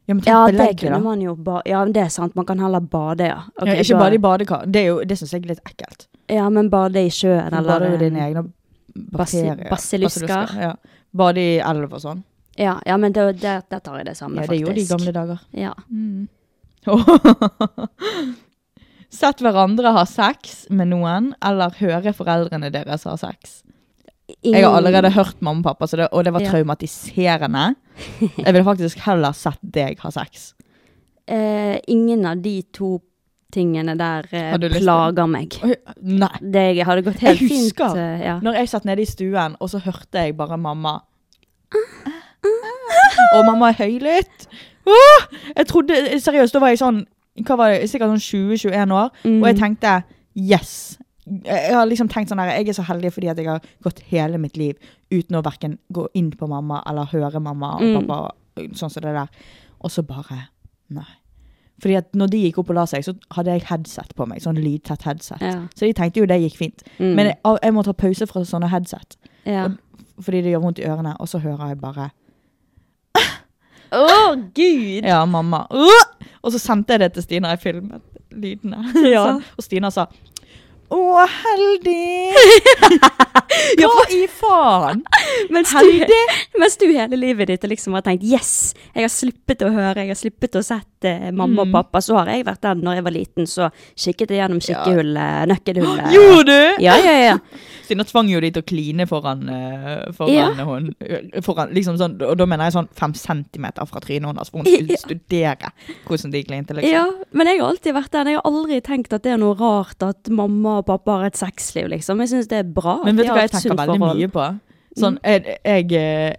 Speaker 4: Ja, men
Speaker 3: Ja,
Speaker 4: tenk
Speaker 3: det
Speaker 4: belegget,
Speaker 3: kunne
Speaker 4: da.
Speaker 3: man jo ba Ja, men det er sant. Man kan heller bade, ja. Ok,
Speaker 4: ja, ikke
Speaker 3: da-
Speaker 4: bade i badekar. Det, er jo- det syns jeg er litt ekkelt.
Speaker 3: Ja, men bade i sjøen
Speaker 4: Du
Speaker 3: eller eh,
Speaker 4: bader jo
Speaker 3: en-
Speaker 4: dine egne
Speaker 3: basi-
Speaker 4: bakterier. Altså,
Speaker 3: basilisker.
Speaker 4: Ja. Bade i elv og sånn.
Speaker 3: Ja, ja men det, der, der tar jeg det samme,
Speaker 4: Ja, det
Speaker 3: faktisk.
Speaker 4: gjorde de i gamle dager.
Speaker 3: Ja.
Speaker 4: Mm. Sett hverandre ha sex med noen, eller høre foreldrene deres ha sex. Jeg har allerede hørt mamma og pappa, så det, og det var
Speaker 3: Ja.
Speaker 4: traumatiserende. Jeg ville faktisk heller sett deg ha sex.
Speaker 3: Eh, ingen av de to tingene der eh,
Speaker 4: Har du lyst til?
Speaker 3: plager meg.
Speaker 4: Oi, Nei.
Speaker 3: Det hadde gått helt
Speaker 4: Jeg
Speaker 3: fint.
Speaker 4: husker.
Speaker 3: eh, ja.
Speaker 4: Når jeg satt nede i stuen, og så hørte jeg bare mamma
Speaker 3: Ah.
Speaker 4: Og mamma er høylytt. Åh! Jeg trodde, seriøst, da var jeg sånn hva var det, sikkert sånn 20-21 år, og
Speaker 3: Mm.
Speaker 4: jeg tenkte yes. Jeg har liksom tenkt sånn her, jeg er så heldig fordi at jeg har gått hele mitt liv uten å hverken gå inn på mamma eller høre mamma og
Speaker 3: Mm.
Speaker 4: pappa. og sånn som det der. Og så bare nei. Fordi at når de gikk opp og la seg, så hadde jeg headset på meg. Sånn lydtett headset.
Speaker 3: Ja.
Speaker 4: Så de tenkte jo det gikk fint.
Speaker 3: Mm.
Speaker 4: Men jeg, jeg må ta pause fra sånne headset,
Speaker 3: ja.
Speaker 4: fordi det gjør vondt i ørene. Og så hører jeg bare
Speaker 3: Å, gud!
Speaker 4: Ja, mamma. «Åh!» Og så sendte jeg det til Stina. Jeg filmet lydene. Sånn. Og Stina sa Å, heldig! Hva i faen?
Speaker 3: Mens du, mens du hele livet ditt liksom har tenkt yes, jeg har sluppet å høre, jeg har sluppet å sett eh, mamma
Speaker 4: Mm.
Speaker 3: og pappa, så har jeg vært den når jeg var liten, så kikket jeg gjennom kikkehullet, nøkkelhullet.
Speaker 4: Gjorde du?
Speaker 3: Ja, ja, ja.
Speaker 4: Stina tvang jo de til å kline foran, eh, foran
Speaker 3: Ja.
Speaker 4: hun. Foran, liksom sånn, og da mener jeg sånn fem centimeter fra trynet hennes, for hun skulle
Speaker 3: Ja.
Speaker 4: studere hvordan de klinte. liksom.
Speaker 3: Ja, men jeg har alltid vært den. Jeg har aldri tenkt at det er noe rart at mamma og pappa har et sexliv, liksom. Jeg syns det er bra.
Speaker 4: Men
Speaker 3: De
Speaker 4: vet du
Speaker 3: har
Speaker 4: hva jeg
Speaker 3: et Mm.
Speaker 4: tenker
Speaker 3: sunt
Speaker 4: veldig
Speaker 3: forhold.
Speaker 4: mye på? Sånn, jeg jeg,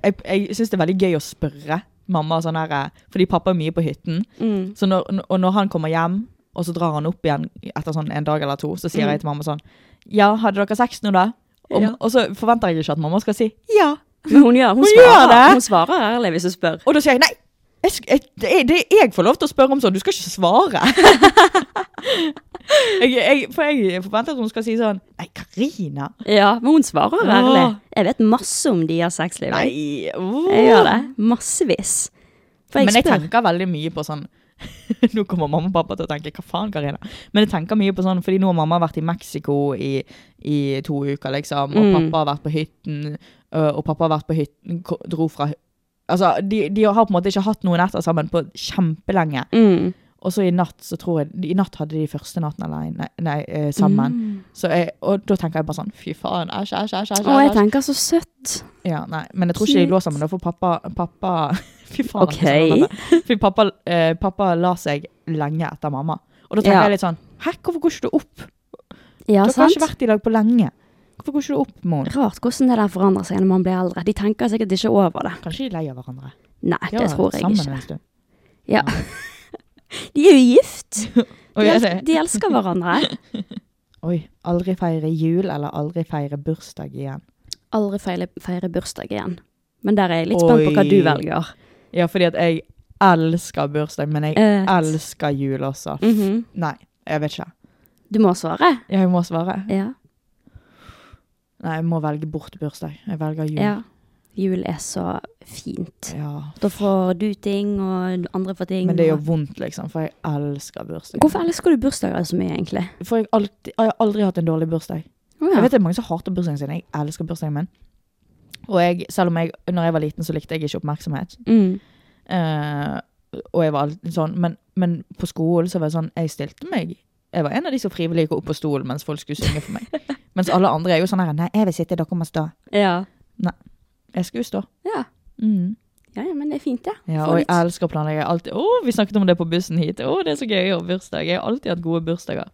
Speaker 4: jeg, jeg syns det er veldig gøy å spørre mamma og sånn her, eh, fordi pappa er mye på hytten.
Speaker 3: Mm.
Speaker 4: Så når, og når han kommer hjem, og så drar han opp igjen etter sånn en dag eller to, så sier
Speaker 3: Mm.
Speaker 4: jeg til mamma sånn Ja, hadde dere sex nå, da? Og,
Speaker 3: Ja.
Speaker 4: og så forventer jeg ikke at mamma skal si ja.
Speaker 3: Men hun gjør, hun,
Speaker 4: Hun
Speaker 3: svarer,
Speaker 4: gjør det!
Speaker 3: Hun svarer ærlig hvis du spør.
Speaker 4: Og da sier jeg nei. Jeg, sk- jeg, det, er, det er jeg får lov til å spørre om sånn, du skal ikke svare. jeg, jeg, for jeg forventer at hun skal si sånn Nei, Karina.
Speaker 3: Ja, men hun svarer
Speaker 4: Ja.
Speaker 3: ærlig. Jeg vet masse om de har sexliv. jeg.
Speaker 4: Nei. uh. åh.
Speaker 3: Jeg gjør det. Massevis. For jeg
Speaker 4: Men jeg
Speaker 3: spør.
Speaker 4: tenker veldig mye på sånn Nå kommer mamma og pappa til å tenke 'hva faen, Karina'? Men jeg tenker mye på sånn, fordi nå har mamma vært i Mexico i, i to uker, liksom. Og
Speaker 3: Mm.
Speaker 4: pappa har vært på hytten, øh, og pappa har vært på hytten, ko- dro fra hy- Altså, de, de har på en måte ikke hatt noen netter sammen på kjempelenge.
Speaker 3: mm.
Speaker 4: Og så i natt, så tror jeg I natt hadde de første natten alene, nei, eh,
Speaker 3: Mm.
Speaker 4: sammen. Så jeg, og da tenker jeg bare sånn fy faen, æsj, æsj, æsj. æsj,
Speaker 3: Å, jeg
Speaker 4: æsj.
Speaker 3: tenker så søtt.
Speaker 4: Ja, nei, men jeg tror ikke de lå sammen, da, for pappa, pappa Fy faen.
Speaker 3: Ok.
Speaker 4: jeg husker det. Fordi pappa, eh, pappa la seg lenge etter mamma. Og da tenker
Speaker 3: Ja.
Speaker 4: jeg litt sånn Hæ, hvorfor går ikke du opp?
Speaker 3: Ja,
Speaker 4: Dere har
Speaker 3: sant?
Speaker 4: ikke vært i lag på lenge. Hvorfor går ikke du opp, mor?
Speaker 3: Rart hvordan det der forandrer seg når man blir eldre. De tenker sikkert ikke over det.
Speaker 4: Kanskje de er lei av hverandre.
Speaker 3: Nei,
Speaker 4: De har
Speaker 3: det
Speaker 4: vært
Speaker 3: tror jeg
Speaker 4: sammen
Speaker 3: ikke.
Speaker 4: en stund.
Speaker 3: Ja. De er jo gift.
Speaker 4: Oi,
Speaker 3: De,
Speaker 4: er
Speaker 3: el
Speaker 4: det-
Speaker 3: de elsker hverandre.
Speaker 4: Oi, aldri feire jul eller aldri feire bursdag igjen.
Speaker 3: Aldri feile, feire bursdag igjen. Men der er jeg litt spent på hva
Speaker 4: Oi.
Speaker 3: du velger.
Speaker 4: Ja, fordi at jeg elsker bursdag, men jeg
Speaker 3: Eh,
Speaker 4: elsker jul også.
Speaker 3: mhm.
Speaker 4: Nei, jeg vet ikke.
Speaker 3: Du må svare.
Speaker 4: Jeg må svare.
Speaker 3: Ja.
Speaker 4: Nei, jeg må velge bort bursdag. Jeg velger jul.
Speaker 3: ja. Jul er så fint.
Speaker 4: ja.
Speaker 3: Da får du ting, og andre får ting.
Speaker 4: Men det gjør
Speaker 3: og-
Speaker 4: vondt, liksom, for jeg elsker bursdag.
Speaker 3: Hvorfor elsker du bursdager så mye, egentlig?
Speaker 4: For jeg, alltid, jeg har aldri hatt en dårlig bursdag.
Speaker 3: Å, ja.
Speaker 4: Jeg vet det er mange som hater bursdagen sin. Jeg elsker bursdagen min. Og jeg, selv om jeg, når jeg var liten, så likte jeg ikke oppmerksomhet.
Speaker 3: Mm.
Speaker 4: Eh, og jeg var alltid sånn, men, men på skolen så var det sånn, jeg stilte meg. Jeg var en av de som frivillig gikk opp på stolen mens folk skulle synge for meg. mens alle andre er jo sånn her, nei, jeg vil sitte, dere må stå.
Speaker 3: ja.
Speaker 4: Jeg skal jo stå.
Speaker 3: Ja. ja, ja, men det er fint, det. Mm. Få
Speaker 4: Ja, og jeg
Speaker 3: litt-
Speaker 4: elsker å planlegge. Jeg har Alltid, å, vi snakket om det på bussen hit. Å, det er så gøy å ha bursdag. Jeg har alltid hatt gode bursdager.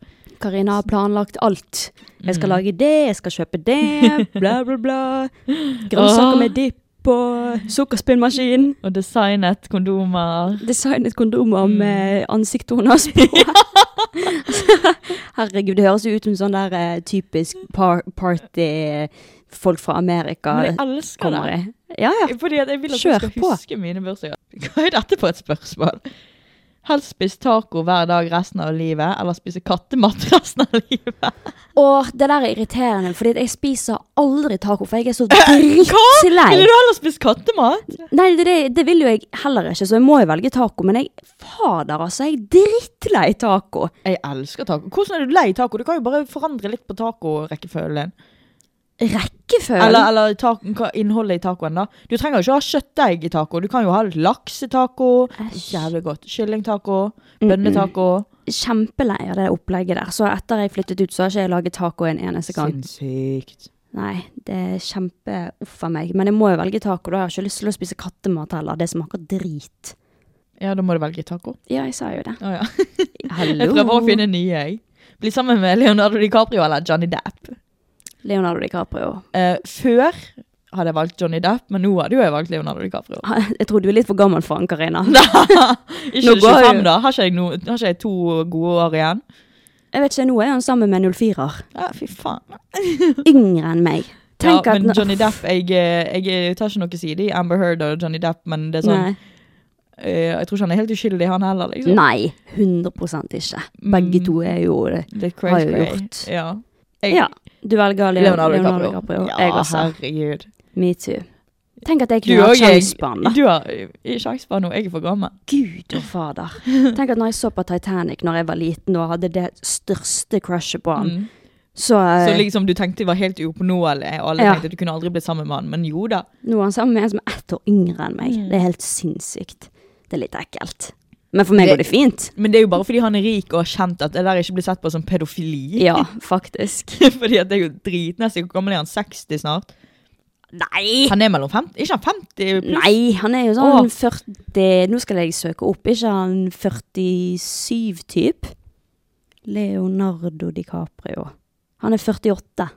Speaker 3: Karina har planlagt alt. Jeg skal lage det, jeg skal kjøpe det, bla, bla, bla. Grønnsaker
Speaker 4: Åh.
Speaker 3: med dipp og sukkerspinnmaskin.
Speaker 4: Og designet kondomer.
Speaker 3: Designet kondomer med ansiktet hennes på. Herregud, det høres jo ut som sånn der eh, typisk par party folk fra
Speaker 4: Men
Speaker 3: Amerika
Speaker 4: jeg elsker
Speaker 3: kommer
Speaker 4: det.
Speaker 3: i. Ja, ja.
Speaker 4: Fordi at jeg vil at
Speaker 3: Kjør
Speaker 4: du skal
Speaker 3: på.
Speaker 4: huske mine bursdager. Hva er dette for et spørsmål? Helst spise taco hver dag resten av livet, eller spise kattemat resten av livet.
Speaker 3: Og det der er irriterende, fordi at jeg spiser aldri taco, for jeg er så drittlei.
Speaker 4: Ville du heller spise kattemat?
Speaker 3: Nei, det, det, det vil jo jeg heller ikke, så jeg må jo velge taco. Men jeg fader, altså. Jeg er drittlei taco.
Speaker 4: Jeg elsker taco. Hvordan er du lei taco? Du kan jo bare forandre litt på tacorekkefølgen.
Speaker 3: Rekkefølgen
Speaker 4: Eller, eller ta- hva innholdet i tacoen, da. Du trenger jo ikke ha kjøttdeig i taco. Du kan jo ha litt laksetaco.
Speaker 3: Æsj.
Speaker 4: Jævlig godt. Kyllingtaco. Bønnetaco.
Speaker 3: Mm, Kjempelei av det opplegget der. Så etter jeg flyttet ut, så har ikke jeg laget taco en eneste gang.
Speaker 4: Sinnssykt.
Speaker 3: Nei, det er kjempe uff a meg. Men jeg må jo velge taco. Da har jeg ikke lyst til å spise kattemat heller. Det smaker drit.
Speaker 4: Ja, da må du velge taco.
Speaker 3: Ja, jeg sa jo det.
Speaker 4: Å ja.
Speaker 3: Hallo.
Speaker 4: Jeg prøver å finne nye, jeg. Bli sammen med Leonardo DiCaprio eller Johnny Depp.
Speaker 3: Leonardo DiCaprio.
Speaker 4: Eh, før hadde jeg valgt Johnny Depp, men nå hadde jo jeg valgt Leonardo DiCaprio.
Speaker 3: Jeg tror du er litt for gammel for han, Karina.
Speaker 4: ikke
Speaker 3: Nå går
Speaker 4: 25,
Speaker 3: jeg-
Speaker 4: da. Har ikke, jeg no, har ikke jeg to gode år igjen?
Speaker 3: Jeg vet ikke, nå er han sammen med en 04-er.
Speaker 4: Ja, fy faen.
Speaker 3: Yngre enn meg.
Speaker 4: Ja,
Speaker 3: Tenk at
Speaker 4: men
Speaker 3: nå-
Speaker 4: Johnny Depp jeg, eh, jeg tar ikke noe side i Amber Heard og Johnny Depp, men det er sånn
Speaker 3: Nei.
Speaker 4: Eh, jeg tror ikke han er helt uskyldig, han heller. liksom.
Speaker 3: Nei, 100 ikke. Begge
Speaker 4: Mm.
Speaker 3: to er jo det.
Speaker 4: Det er
Speaker 3: Har
Speaker 4: crazy.
Speaker 3: jo
Speaker 4: cray.
Speaker 3: gjort.
Speaker 4: Ja.
Speaker 3: Ja, du velger Leonardo,
Speaker 4: Leonardo
Speaker 3: Leonardo
Speaker 4: DiCaprio.
Speaker 3: DiCaprio.
Speaker 4: Ja,
Speaker 3: Jeg også.
Speaker 4: herregud.
Speaker 3: Me too. Tenk at jeg
Speaker 4: Du
Speaker 3: kunne ha
Speaker 4: og jeg-
Speaker 3: kjangs på han, da.
Speaker 4: Du har ikke sjanse på noe, jeg er for gammel. Mm.
Speaker 3: Gud og fader. Tenk at når jeg så på Titanic når jeg var liten og hadde det største crushet på han,
Speaker 4: Mm.
Speaker 3: så,
Speaker 4: Så
Speaker 3: eh,
Speaker 4: liksom du tenkte det var helt uoppnåelig, og alle
Speaker 3: Ja.
Speaker 4: tenkte at du kunne aldri blitt sammen med han, men jo da.
Speaker 3: nå er han sammen med en som er ett år yngre enn
Speaker 4: Mm.
Speaker 3: meg. Det er helt sinnssykt. Det er litt ekkelt. Men for meg går det fint.
Speaker 4: Men det er jo bare fordi han er rik og har kjent at det der ikke blir sett på som pedofili.
Speaker 3: Ja, faktisk.
Speaker 4: fordi at det er jo dritnæssig. Hvor gammel er han? 60 snart?
Speaker 3: Nei!
Speaker 4: Han er mellom 50? Ikke han 50 pluss?
Speaker 3: Nei, han er jo sånn
Speaker 4: Åh.
Speaker 3: 40 Nå skal jeg søke opp, ikke han 47-typ? Leonardo DiCaprio. Han er 48,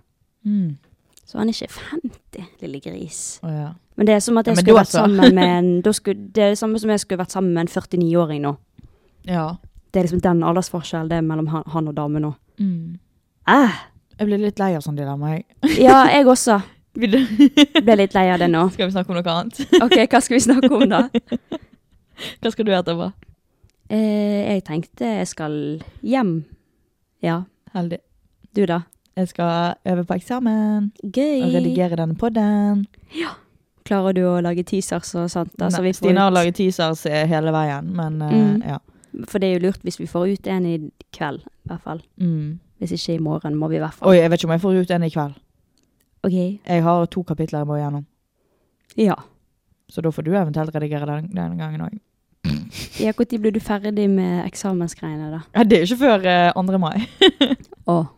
Speaker 4: Mm.
Speaker 3: så han er ikke 50, lille gris.
Speaker 4: Å, ja.
Speaker 3: Men det er som at jeg
Speaker 4: Ja, men altså.
Speaker 3: skulle
Speaker 4: da
Speaker 3: vært
Speaker 4: så.
Speaker 3: sammen med en da skulle, Det er det samme som jeg skulle vært sammen med en 49-åring nå.
Speaker 4: ja.
Speaker 3: Det er liksom den aldersforskjellen det er mellom han, han og damen nå.
Speaker 4: Mm.
Speaker 3: Eh,
Speaker 4: Jeg blir litt lei av sånn dilemma, jeg.
Speaker 3: ja, jeg også
Speaker 4: Vil du-
Speaker 3: ble litt lei av det nå.
Speaker 4: Skal vi snakke om noe annet?
Speaker 3: Ok, hva skal vi snakke om da?
Speaker 4: Hva skal du etterpå?
Speaker 3: Eh, jeg tenkte jeg skal hjem. Ja,
Speaker 4: Heldig.
Speaker 3: du da?
Speaker 4: Jeg skal øve på eksamen
Speaker 3: Gøy.
Speaker 4: og redigere denne podden.
Speaker 3: Klarer du å lage teasers og sånt? Da, så
Speaker 4: Nei,
Speaker 3: vi får
Speaker 4: Stina har
Speaker 3: ut,
Speaker 4: laget teasers eh, hele veien, men eh,
Speaker 3: Mm.
Speaker 4: ja.
Speaker 3: for det er jo lurt hvis vi får ut en i kveld, i hvert fall.
Speaker 4: Mm.
Speaker 3: Hvis ikke i morgen, må vi i hvert fall.
Speaker 4: Oi, jeg vet ikke om jeg får ut en i kveld.
Speaker 3: Ok,
Speaker 4: Jeg har to kapitler jeg må gjennom,
Speaker 3: ja.
Speaker 4: så da får du eventuelt redigere den, denne gangen òg.
Speaker 3: Ja, hvor tid blir du ferdig med eksamensgreiene da?
Speaker 4: Ja, det er jo ikke før eh, 2. mai.
Speaker 3: Å,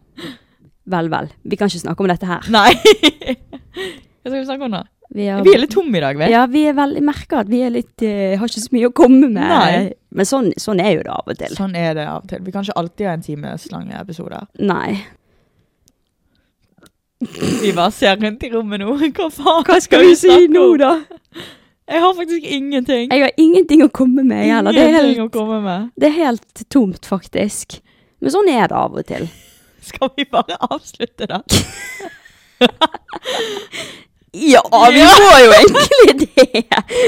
Speaker 3: vel, vel. Vi kan ikke snakke om dette her.
Speaker 4: Nei! Hva skal vi snakke om nå?
Speaker 3: Vi er,
Speaker 4: Vi er litt tomme i dag, vet du.
Speaker 3: ja, vi er veldig merket at vi er litt, eh, har ikke så mye å komme med.
Speaker 4: Nei.
Speaker 3: Men sånn, sånn er jo det av og til.
Speaker 4: Sånn er det av og til. Vi kan ikke alltid ha en times lange episoder.
Speaker 3: Nei.
Speaker 4: Vi bare ser rundt i rommet nå. Hva faen
Speaker 3: Hva skal vi si
Speaker 4: snakke
Speaker 3: nå
Speaker 4: om?
Speaker 3: da?
Speaker 4: Jeg har faktisk ingenting.
Speaker 3: Jeg har ingenting å komme med heller. Det er
Speaker 4: ingenting
Speaker 3: helt,
Speaker 4: å komme med.
Speaker 3: det er helt tomt faktisk. Men sånn er det av og til.
Speaker 4: Skal vi bare avslutte det?
Speaker 3: Ja, vi må jo egentlig det!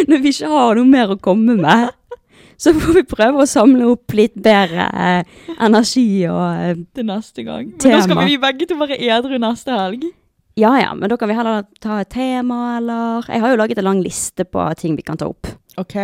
Speaker 3: Når vi ikke har noe mer å komme med. Så får vi prøve å samle opp litt bedre eh, energi og eh,
Speaker 4: til neste gang. Men da
Speaker 3: Tema.
Speaker 4: skal vi begge to være edru neste helg.
Speaker 3: Ja ja, men da kan vi heller ta et tema, eller Jeg har jo laget en lang liste på ting vi kan ta opp.
Speaker 4: Ok.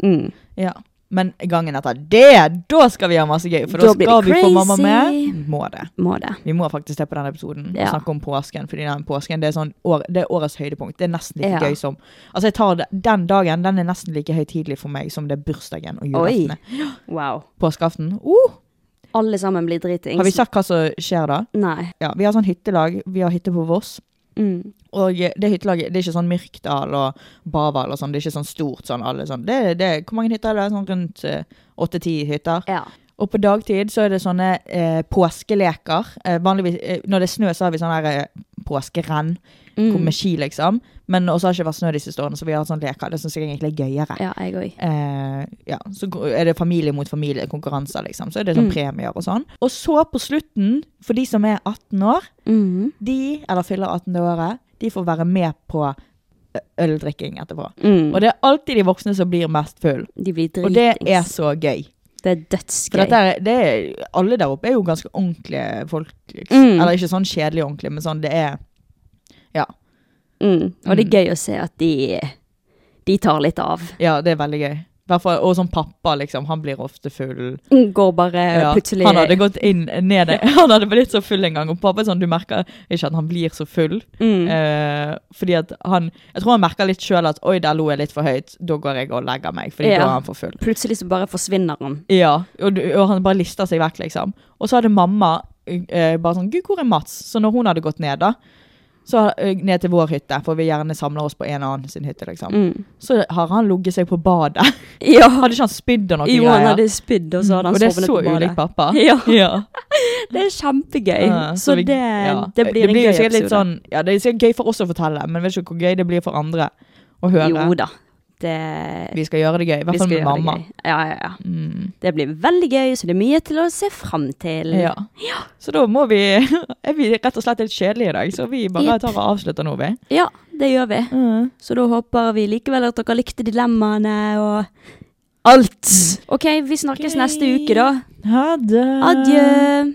Speaker 3: Mm.
Speaker 4: Ja. Men gangen etter det, da skal vi ha masse gøy. For da,
Speaker 3: Da blir
Speaker 4: skal
Speaker 3: det
Speaker 4: vi få mamma
Speaker 3: crazy.
Speaker 4: med. Må det.
Speaker 3: Må det.
Speaker 4: Vi må faktisk se på den episoden og
Speaker 3: Ja.
Speaker 4: snakke om påsken. Fordi den påsken det er, sånn år, det er årets høydepunkt. Det er nesten like
Speaker 3: Ja.
Speaker 4: gøy som Altså jeg tar det, Den dagen den er nesten like høytidelig for meg som det er bursdagen og
Speaker 3: Oi.
Speaker 4: julaften. er.
Speaker 3: Wow.
Speaker 4: Påskeaften. Uh,
Speaker 3: Alle sammen blir dritings.
Speaker 4: har vi sagt hva som skjer da?
Speaker 3: Nei.
Speaker 4: Ja, Vi har sånn hyttelag. Vi har hytte på Voss.
Speaker 3: Mm.
Speaker 4: Og det hyttelaget det er ikke sånn Myrkdal og Bavall og sånn. Det er ikke sånn stort sånn alle sånn. Det, det, hvor mange hytter er det? Sånn rundt åtte-ti hytter.
Speaker 3: Ja.
Speaker 4: Og på dagtid så er det sånne eh, påskeleker. Eh, vanligvis, eh, når det er snø, så har vi sånn her eh, påskerenn hvor-
Speaker 3: Mm.
Speaker 4: med ski, liksom. Men også har det ikke vært snø de siste årene, så vi har hatt sånne leker. Det syns jeg egentlig er gøyere.
Speaker 3: ja, jeg òg.
Speaker 4: Eh, ja, så ko- er det familie mot familie, konkurranser, liksom. Så er det sånn
Speaker 3: Mm.
Speaker 4: premier og sånn. Og så på slutten, for de som er 18 år,
Speaker 3: Mm.
Speaker 4: de, eller fyller 18. året, de får være med på ø- øldrikking etterpå.
Speaker 3: Mm.
Speaker 4: Og det er alltid de voksne som blir mest full.
Speaker 3: De blir
Speaker 4: Og det
Speaker 3: dritings.
Speaker 4: er så gøy.
Speaker 3: Det er
Speaker 4: For
Speaker 3: dødsgøy.
Speaker 4: dette er, det er, alle der oppe er jo ganske ordentlige folk. Liksom.
Speaker 3: Mm.
Speaker 4: Eller ikke sånn kjedelig ordentlig, men sånn det er
Speaker 3: Mm. Og det
Speaker 4: Mm.
Speaker 3: er gøy å se at de, de tar litt av.
Speaker 4: Ja, det er veldig gøy. Hvertfall, og sånn pappa, liksom. Han blir ofte full.
Speaker 3: Mm, Går bare
Speaker 4: Ja,
Speaker 3: Eh, plutselig
Speaker 4: Han hadde gått inn ned Han hadde blitt så full en gang. Og pappa er sånn, du merker ikke at han blir så full.
Speaker 3: mm.
Speaker 4: Eh, fordi at han Jeg tror han merker litt sjøl at 'oi, der lo jeg litt for høyt', da går jeg og legger meg. Fordi
Speaker 3: Ja.
Speaker 4: da er han for full.
Speaker 3: Plutselig så bare forsvinner han.
Speaker 4: Ja, og, du- og han bare lister seg vekk, liksom. Og så hadde mamma eh, bare sånn 'Gud, hvor er Mats?' Så når hun hadde gått ned, da så eh, ned til vår hytte, for vi gjerne samler oss på en annen sin hytte. liksom.
Speaker 3: Mm.
Speaker 4: Så har han ligget seg på badet.
Speaker 3: Ja,
Speaker 4: Hadde ikke han spydd og noe
Speaker 3: jo, han
Speaker 4: greier?
Speaker 3: hadde spydd, og så hadde han
Speaker 4: og det er
Speaker 3: sovnet
Speaker 4: så
Speaker 3: på badet.
Speaker 4: ulikt pappa.
Speaker 3: Ja,
Speaker 4: Ja.
Speaker 3: det er kjempegøy.
Speaker 4: Ja,
Speaker 3: så
Speaker 4: vi-
Speaker 3: det,
Speaker 4: ja.
Speaker 3: det blir en gøy
Speaker 4: jo sikkert
Speaker 3: episode.
Speaker 4: litt sånn, ja, det er sikkert gøy for oss å fortelle, men vet ikke hvor gøy det blir for andre å høre.
Speaker 3: Jo da. Det,
Speaker 4: Vi skal gjøre det gøy, i
Speaker 3: vi
Speaker 4: hvert
Speaker 3: skal
Speaker 4: fall med
Speaker 3: gjøre det
Speaker 4: mamma.
Speaker 3: gøy. Ja, ja, ja.
Speaker 4: Mm.
Speaker 3: Det blir veldig gøy, så det er mye til å se fram til.
Speaker 4: Ja. Så da må vi Er vi rett og slett litt kjedelige i dag, så vi bare
Speaker 3: Jepp.
Speaker 4: tar og avslutter nå, vi.
Speaker 3: Ja, det gjør vi. Så da håper vi likevel at dere likte dilemmaene og alt. OK, vi snakkes
Speaker 4: Ok.
Speaker 3: neste uke, da.
Speaker 4: Ha det.
Speaker 3: Adjø.